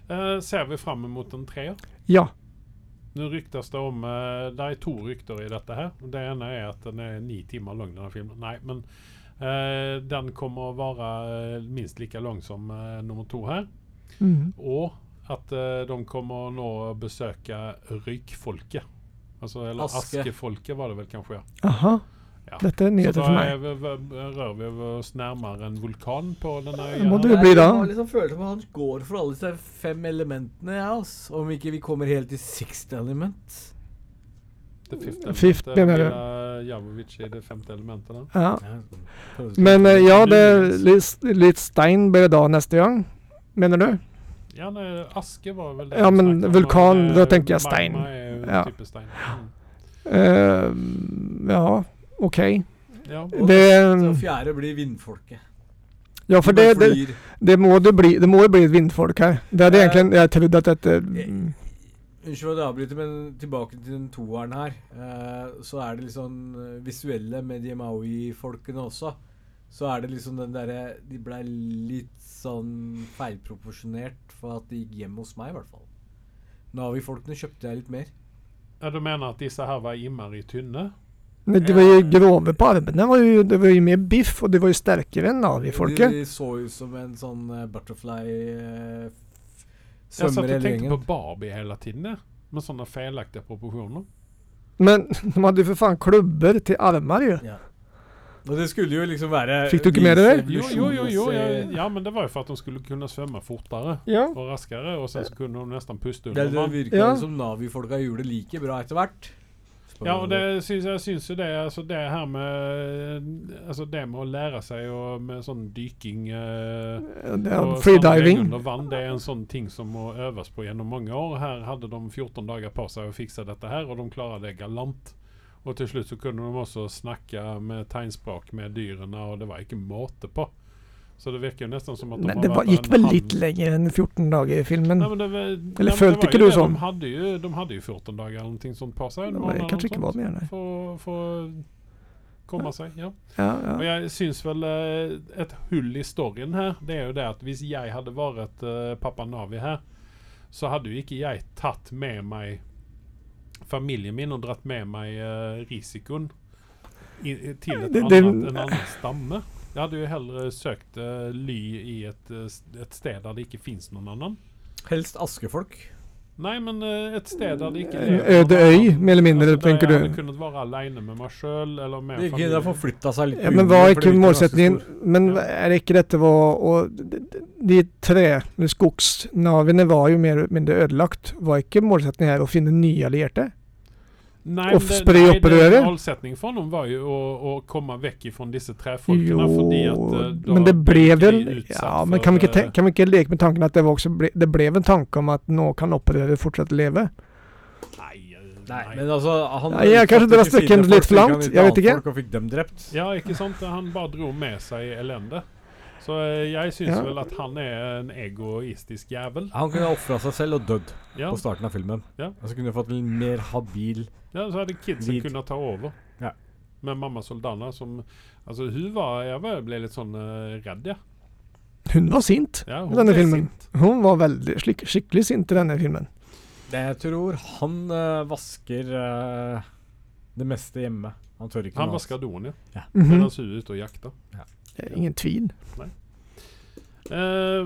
Eh, ser vi fram emot en trea?
Ja,
Nu ryktas det om, eh, det är två rykter i detta här. Det ena är att den är nio timmar lång den här filmen. Nej men eh, den kommer att vara eh, minst lika lång som eh, nummer två här.
Mm.
Och att eh, de kommer nå besöka Rykfolket. Alltså, eller
Aske.
Askefolket var det väl kanske. Ja.
Aha,
Ja.
detta är
Så
nyheter
då
för mig.
är vi, vi- rör vi oss närmare en vulkan på den här
Må
ön.
du- Det blir da.
Jeg har liksom følelsen av at han går for alle disse fem elementene, ja, ass. Om ikke vi kommer helt til sixth element.
Det fifth
Fifth,
elementet,
menar du?
Mila Jovovich i det femte elementet. där.
Ja.
Ja.
Men eh, ja, det
Nu-
är lite- lite Stein blir det dag nästa gång. Menar du?
Ja, nej, Aske var väl det
Ja,
vi
men
snackade om,
vulkan,
men,
då
eh,
tänker jag
magma
Stein.
är ju
Ja.
typ Stein. Mm.
Eh, ja, okej.
Ja.
Og
Det,
Så fjerde blir vindfolket.
ja, för
De
det, det,
flyr.
det, må det, bli, det må ju bli ett vindfolk här. Det hade
Eh,
egentligen, jeg trodde att det... mm,
Unnskyld at jeg avbryter, men tilbake til den toeren her. eh, så er det litt sånn eh, visuelle med de Maui-folkene også. Så er det liksom den derre De blei litt sånn feilproporsjonert for at det gikk hjem hos meg, i hvert fall. Navi-folkene kjøpte jeg litt mer.
ja, du menar att dessa här var immar i tynne?
Men det var ju grova på armarna, var ju, det var ju mer biff och det var ju starkare än Navi-folket.
De så ut som en sånn eh, butterfly eh, f-
Jag satt
svømmer
och
hele
tänkte på
gjengen.
Barbie hela tiden. Med sådana felaktiga proportioner.
Men de hade ju för fan klubbor till armar ju.
Ja. Og det skulle jo liksom være
Fikk du ikke med deg det?
Jo, jo, jo, jo ja,
evolusjons-
ja, men det var ju för att de skulle kunna svömma fortare
Ja.
och raskare och sen så kunde de nästan pusta
Det,
under
det
varandra.
virka
Ja.
som Navi-folka gjorde det like bra etter hvert. på
Ja, og det syns, jeg syns jo det altså Det her med Altså det med å lære seg å, med sånn dyking eh,
Det er
og sandvegg
freediving.
under vann, det er en sånn ting som må øves på gjennom mange år. Her hadde de 14 dager på seg å fikse dette her, og de klarer det galant. Og til slutt så kunne de også snakke med tegnspråk med dyrene, og det var ikke måte på. Så det virker jo nesten som at de
Men
har
det var,
vært
gikk
en
vel
hand-
litt lenger enn 14 dager i filmen.
Nei, men det, var- nei, men
følte
det var
ikke
jo
du
det.
sånn?
De hadde jo, de hadde jo 14 dager eller noe sånt på seg. en
Det
måned
var
eller
kanskje
noe
ikke
sånt,
var mer, nei.
For, for komme seg, ja.
Ja,
Og
ja.
jeg syns vel eh, et hull i storyen her, det er jo det at hvis jeg hadde vært eh, pappa Navi her, så hadde jo ikke jeg tatt med meg familien min og dratt med meg eh, risikoen i, i- til et
Det-
annet,
det-
en annen stamme. Jeg hadde jo heller søkt eh, ly i et, eh, s- et sted der det ikke fins noen annen.
Helst askefolk.
Nei, men eh, et sted der det Alltså, ikke
En
lever
øde
noen
øy,
annen.
mer eller mindre,
Altså, der
tenker
jeg hadde
du.
kunnet være aleine med meg sjøl eller med
De kunne forflytta seg litt.
Ja,
på
men
jorden,
var
for
ikke
det virker ganske
målsettingen
stor.
Men
Ja.
er det ikke dette var og de- de- De tre skogsnaviene var jo mer eller mindre ødelagt. Var ikke målsettingen her å finne nye allierte?
Nei,
Og
men det-
spre
nei,
opprøret?
det- Målsetningen for dem var jo å, å komme vekk ifrån disse trefolkene. fordi at eh, da
men det ble
de
vel
utsatt
Ja, men kan vi ikke,
for, eh,
te- kan vi ikke leke med tanken at det, var også ble, det ble en tanke om at nå kan opprøret fortsette å leve?
Nei, eh,
Nei,
nei.
men altså han,
Ja, jeg kanskje
satte
drar
ikke sine
strikken
folk,
litt
så gikk han
langt,
ut
jeg vet
til
ikke.
folk Og fikk dem drept.
Ja, ikke sant? Han bare dro med seg elende. Så eh, jeg syns
Ja.
vel at han er en egoistisk jævel.
Han kunne ofra seg selv og dødd
Ja,
på starten av filmen.
Ja.
Og så kunne vi fått en mer habil
ja Så hadde kidsen
Vid.
kunnet ta over.
Ja.
Med mamma Soldana som Altså, hun var Jeg var- ble litt sånn eh, redd, ja.
Hun var sint
ja
i denne
ble
filmen.
sint.
Hun var veldig slik, skikkelig sint i denne filmen.
Jeg tror han eh, vasker eh, det meste hjemme. Han tør ikke
Han
noe
vaska
annet.
doen, ja.
Mhm.
Mens hun er ute og jakta.
Det er Ingen tvil.
Eh,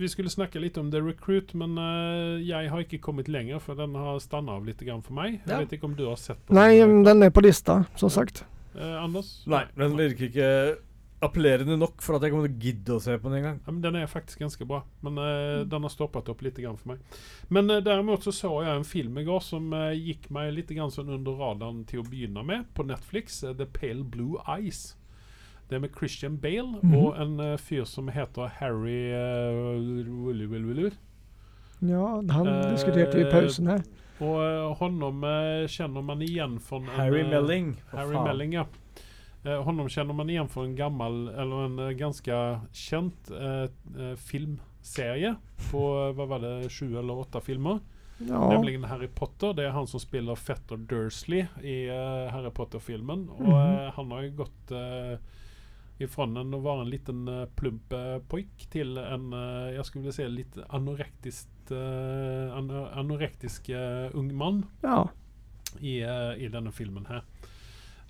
vi skulle snakke litt om The Recruit, men eh, jeg har ikke kommet lenger, for den har stanna av litt grann for meg.
Ja.
Jeg vet ikke om du har sett på
Nei,
den,
men den er på lista, som sagt.
eh, Anders?
Nei, den virker ikke appellerende nok for at jeg kommer til å gidde å se på den engang.
Ja, men den er faktisk ganske bra, men eh,
Mm.
den har stoppet opp litt grann for meg. Men eh, derimot så så jeg en film i går som eh, gikk meg litt grann sånn under radaren til å begynne med, på Netflix. eh, The Pale Blue Eyes. Det er med Christian Bale
Mhm.
og en eh, fyr som heter Harry uh,
Ja, han
Eh,
diskuterte vi i pausen her.
Og eh, honom eh, kjenner man igjen från
Harry
en, eh,
Melling. for
Harry
faen.
Melling, ja. Eh, honom kjenner man igjen från en gammal, eller en eh, ganska känt eh, eh, filmserie på, eh, vad var det, sju eller åtta filmer.
Ja.
Nämligen Harry Potter. Det är han som spelar Fetter Dursley i eh, Harry Potter-filmen. Och
Mhm.
eh, han har ju gått eh, ifrån en att vara en liten eh, plump eh, pojk till en, eh, jag skulle vilja säga lite anorektiskt, eh, ano- anorektisk eh, ung man
ja.
i, eh, i denne filmen her.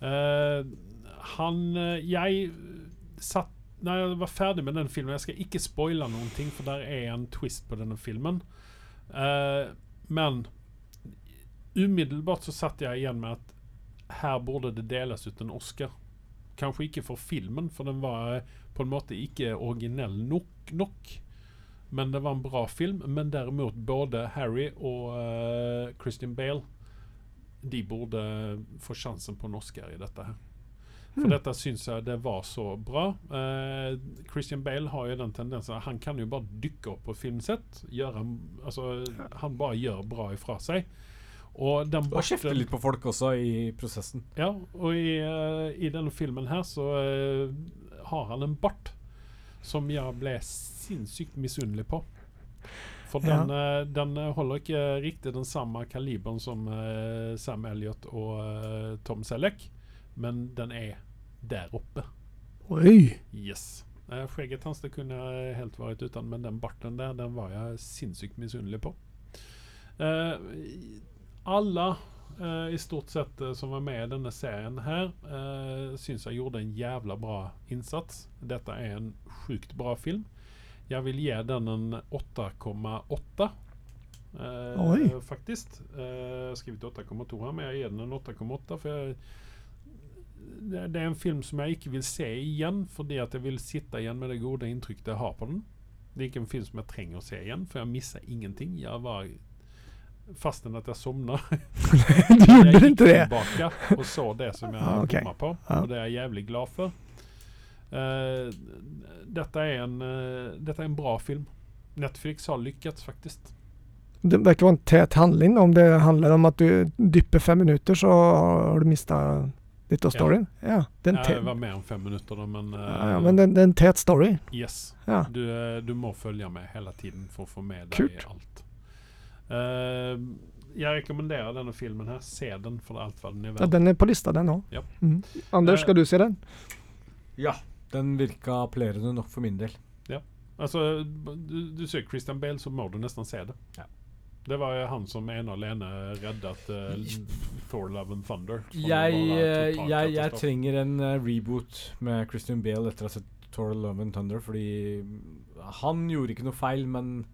Eh, han eh, Jeg satt Når jeg var ferdig med den filmen Jeg skal ikke spoile noen ting, for der er en twist på denne filmen. Eh, men umiddelbart så satt jeg igjen med at her burde det deles ut en Oscar. Kanskje ikke for filmen, for den var eh, på en måte ikke originell nok. nok. Men det var en bra film. Men derimot både Harry og eh, Christian Bale de burde få sjansen på en Oscar i dette her. For dette syns jeg det var så bra. Eh, Christian Bale har jo den tendensen Han kan jo bare dukke opp på filmsett. Gjøre, en- altså, alltså, han bare gjør bra ifra seg. Og den
Og kjefte
botten-
litt på folk også i prosessen.
ja, og i, eh, i denne filmen her så eh, har han en bart som jeg ble sinnssykt misunnelig på. For den, eh, den eh, holder ikke riktig den samme kaliberen som eh, Sam Elliot og eh, Tom Selleck, men den er der oppe.
Oi.
Yes. Eh, Skjegget hans det kunne jeg helt vært uten, men den barten der, den var jeg sinnssykt misunnelig på. Eh, alle eh, i stort sett eh, som var med i denne serien her, uh, syns jeg gjorde en jævla bra innsats. Dette er en sjukt bra film. Jeg vil gi den en 8,8. eh,
Oi.
Faktisk. Eh, jeg har skrevet 8,2 her, men jeg gir den en 8,8. for jeg det det er en film som jeg ikke vil se igjen, fordi at jeg vil sitte igjen med det gode inntrykket jeg har på den. Det er ikke en film som jeg trenger å se igjen, for jeg missa ingenting. Jeg var fastän att jag somnade.
Du
jag
gjorde
gick
inte det?
tillbaka och såg det som jag
Ah,
ah,
okej.
på.
Ja.
Och det är jag jävligt glad för. Eh, detta, är en, eh, detta är en bra film. Netflix har lyckats faktiskt.
Det verkar vara en tät handling. Om det handlar om att du dypper fem minuter så har du missat lite av
Ja. Eh,
storyn. Ja, det är en
Jag
tät,
var med om fem minuter då, men, eh,
ja, ja, men det, det är en tät story.
yes.
Ja.
Du, eh, du må följa med hela tiden för att få med dig
Kul.
allt. Eh, jag rekommenderar den här filmen här. Se den för allt vad den är värd.
Ja, den är på listan den ja.
Ja.
Mm. Anders,
Eh,
ska du se den?
Ja. Den virka appellerende nok for min del.
Alltså, du, du ser Christian Bale så må du nästan se det.
Ja.
Det var ju han som ena och alene räddat eh, Thor Love and Thunder. från att
Jeg,
vara
eh,
total
jeg, jeg
katastrof.
trenger en eh, reboot med Christian Bale etter å ha sett Thor Love and Thunder, fordi han gjorde ikke noe feil, men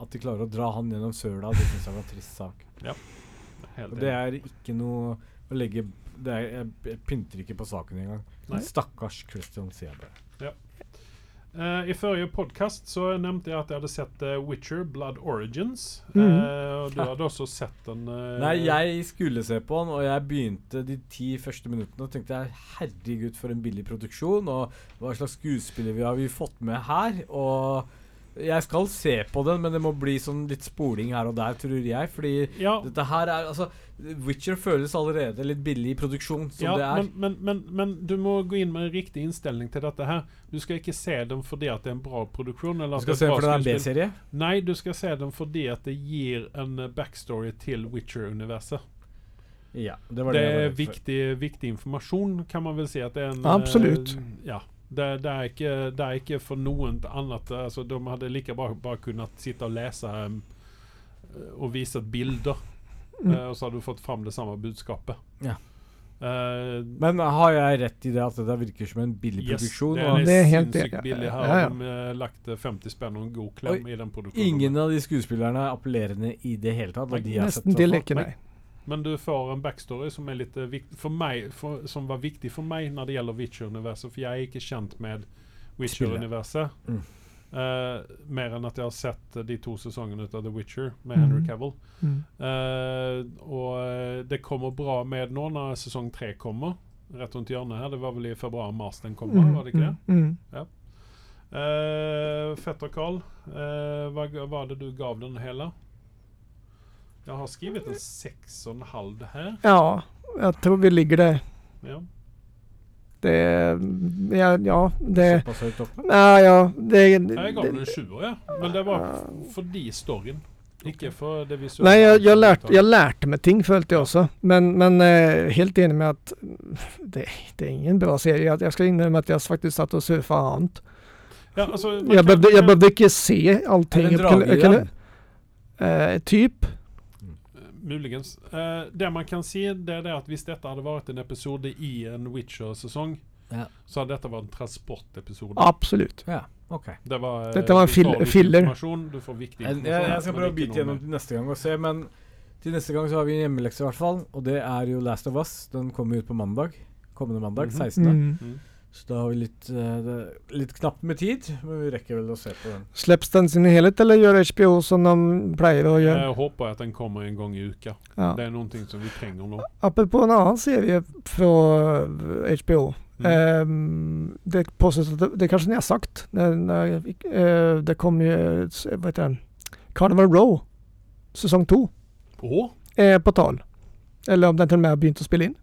at de klarer å dra han gjennom søla, det syns jeg var en trist sak.
Helt
Og typ. det
enig.
er ikke noe å legge det er, jeg, jeg pynter ikke på saken engang.
Nei.
Stakkars Christian Seber.
Eh, I förra podcast så nämnde jag att jag hade sett eh, Witcher Blood Origins.
Mm.
Eh, och du hade också sett den. eh,
Nei, jeg skulle se på han, og jeg begynte de ti første minuttene og tenkte jeg, herregud for en billig produksjon, og hva slags skuespiller vi har vi fått med her? Og jeg skal se på den, men det må bli sånn litt spoling her og der, tror jeg. Fordi
Ja,
dette her er Altså, Witcher føles allerede litt billig i produksjon som
ja
det er.
men, men, men, men du må gå in med en riktig inställning till detta här. Du ska inte se den för det att det är en bra produktion eller
Du
att det
skal
är
se
ett bra
for deg en
skuespel.
B-serie?
Nej, du ska se den för det att det ger en eh, backstory till Witcher-universet.
Ja, det var
Det
det. jeg var
er
redd for.
viktig, viktig informasjon, kan man vel si. at det er en...
Absolutt.
eh, ja. Det, det, er ikke, det er ikke for noen annet. Altså, Alltså, de hadde like bra bare kunnet sitte og lese um, og vise bilder,
Mm.
eh, og så hadde du fått fram det samme budskapet.
Ja.
Eh,
Men har jeg rett i det at det der virker som en billig
yes,
produksjon?
det,
og
Det
er
er helt-
sinnssykt billig her.
Ja, ja.
De eh, lagt eh, 50 spenn og en god klem
Og
i den produksjonen.
Ingen av de skuespillerne er appellerende i det hele tatt. Og de jeg har sett
Nesten
så
til
far.
ikke, nei.
Men du får en backstory som är lite vikt för mig, för, som var viktig för mig när det gäller Witcher-universum. För jag är inte känt med Witcher-universum.
Mm.
Eh, mer än att jag har sett eh, de två säsongerna av The Witcher med
Mm.
Henry Cavill.
Mm.
Eh, och eh, det kommer bra med nå när säsong tre kommer. Rätt runt hjörnet här. Det var väl i februari, mars den kommer, var det inte det?
mm, mm.
Eh, Fetter Karl, eh, vad g- var det du gav den hela? Jag har skrivit en sex och en halv här.
Ja, jeg tror vi ligger der.
Ja.
Det Ja, ja det
Såpass høyt oppe.
Nej, ja, det,
Jeg ga
det-
den en sjuer, ja. Men det var f- fordi storyen. Ikke for det visuelle.
Nej, jag, jag, lärt, jag lärde mig ting följt jag också. Men, men eh, helt enig med att mm, det, det är ingen bra serie. Jag, jag ska innrömma att jag faktiskt satt och surfade hand.
ja, altså, man
Jag
kan-
behövde, jag
man-
behövde inte se allting.
Er det en
Jag kunde- jag
drage i
kunde- eh, typ.
Muligens. Eh, det man kan se, det er det at hvis dette hadde vært en episode i en Witcher-sesong,
Ja.
så hadde dette vært en transportepisode.
Absolut.
Ja, ok.
Det var, eh,
Dette var en
du får
fill-
litt
filler.
Informasjon, du får viktig
Jeg,
informasjon.
jeg, jeg skal
men
prøve å
ikke
bite
noe
gjennom
mer.
til neste gang og se, men til neste gang så har vi en hjemmelekse i hvert fall. Og det er jo Last of Us. Den kommer ut på mandag. Kommende mandag,
Mhm.
16.
Mm.
Så da har vi litt, eh, det, litt knapt med tid, men vi rekker vel å se på den.
Släpps den sin i helhet eller gör HBO som de plejer att göra?
Jeg håper at den kommer en gang i uka.
Ja.
Eh,
Eh.
Det er noe som vi trenger nå.
Apropå en annan serie från eh, HBO.
Mm.
Ehm, det påstås att det, det kanske ni har sagt. När, när, jag fick- eh, det kom ju, eh, vad heter den? Carnival Row, säsong 2,
Åh,
är på tal. Eller om den till och med har begynt att spela in.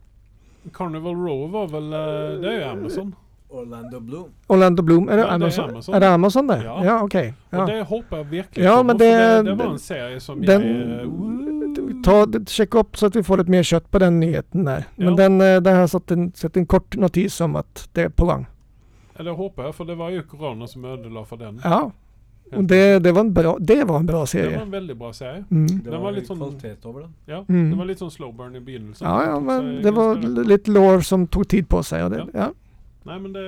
Carnival Row var vel eh, Det er jo Amazon.
Orlando Bloom.
Orlando Bloom, är det,
Ja, det är
Amazon?
Amazon.
Är det Amazon det?
Ja.
Ja, okej.
Och
Ja.
det hoppas jag verkligen
Ja,
kommer,
men
för
det-
det, det var en
den-
serie som
den-
jag... eh, woo.
Ta, checka upp så att vi får lite mer kött på den nyheten där.
Ja.
Men den, eh, där har jag satt en, sett en kort notis om att det är på gång.
Ja, det hoppas jag, för det var ju corona som ödelade för den.
Ja, och det, det, var, en bra, det var en bra
det var
serie.
en väldigt bra serie.
Mm.
Det
Den
var,
var litt
litt
sånn-
kvalitet over den.
Ja,
Mm.
Det var lite som slow burn i begynnelsen.
Ja, ja,
Så
men det
ganska-
var l- lite lår som tog tid på sig. Och det,
Ja.
ja.
Nej, men det,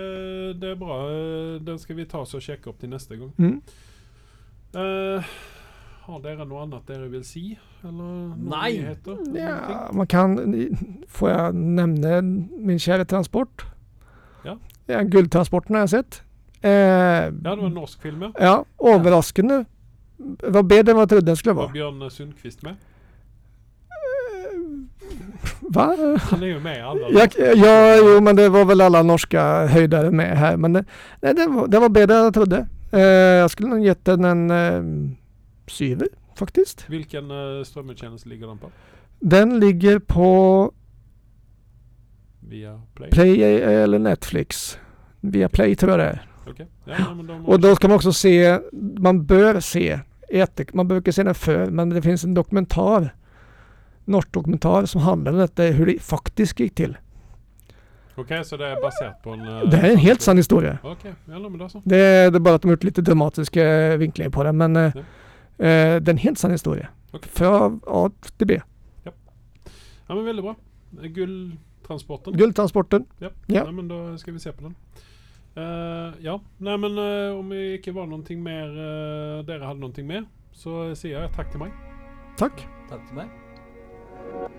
det är bra. Eh, Den ska vi ta så och checka upp till nästa gång.
Mm.
Uh, har dere något annat dere vill se? Eller några
Nej.
nyheter? Någonting?
Ja, man kan, får jag nämna min kära transport?
Ja.
ja guldtransporten har jag sett. Eh,
Ja, det var en norsk film ja.
ja, överraskande Var bedre än vad jag trodde den skulle
Var
vara.
Björn Sundqvist med?
Eh, Va?
Han är ju med i alla.
Jag, ja, jo men det var väl alla norska höjdare med här. Men det, nej, det, var, det var bättre än jag trodde. Eh, jag skulle nog gett den en eh, syver faktiskt.
Vilken uh, strömmetjänst ligger den på?
Den ligger på
Via Play?
Play eh, eller Netflix. Via Play tror jag det är.
Okej. Ja, nej, men de
Och då ska man också se, man bör se, jätte- man brukar se den förr, men det finns en dokumentär, norsk dokumentär som handlar om detta, hur det faktiskt gick till.
Okej, så det är baserat på en... eh,
Det här är en helt sann historia.
Okej, ja, men då så.
Det är, det är bara att de har gjort lite dramatiska vinklingar på den, men eh,
Ja.
eh, det är en helt sann historia.
Okej.
Från A till B.
Ja, men väldigt bra. Guldtransporten.
Guldtransporten.
Ja.
Ja.
Nej, men då ska vi se på den. Eh, ja, nej men eh, om det icke var någonting mer, uh, dere hade någonting mer, så eh, säger jag tack till mig.
Tack.
Tack till mig.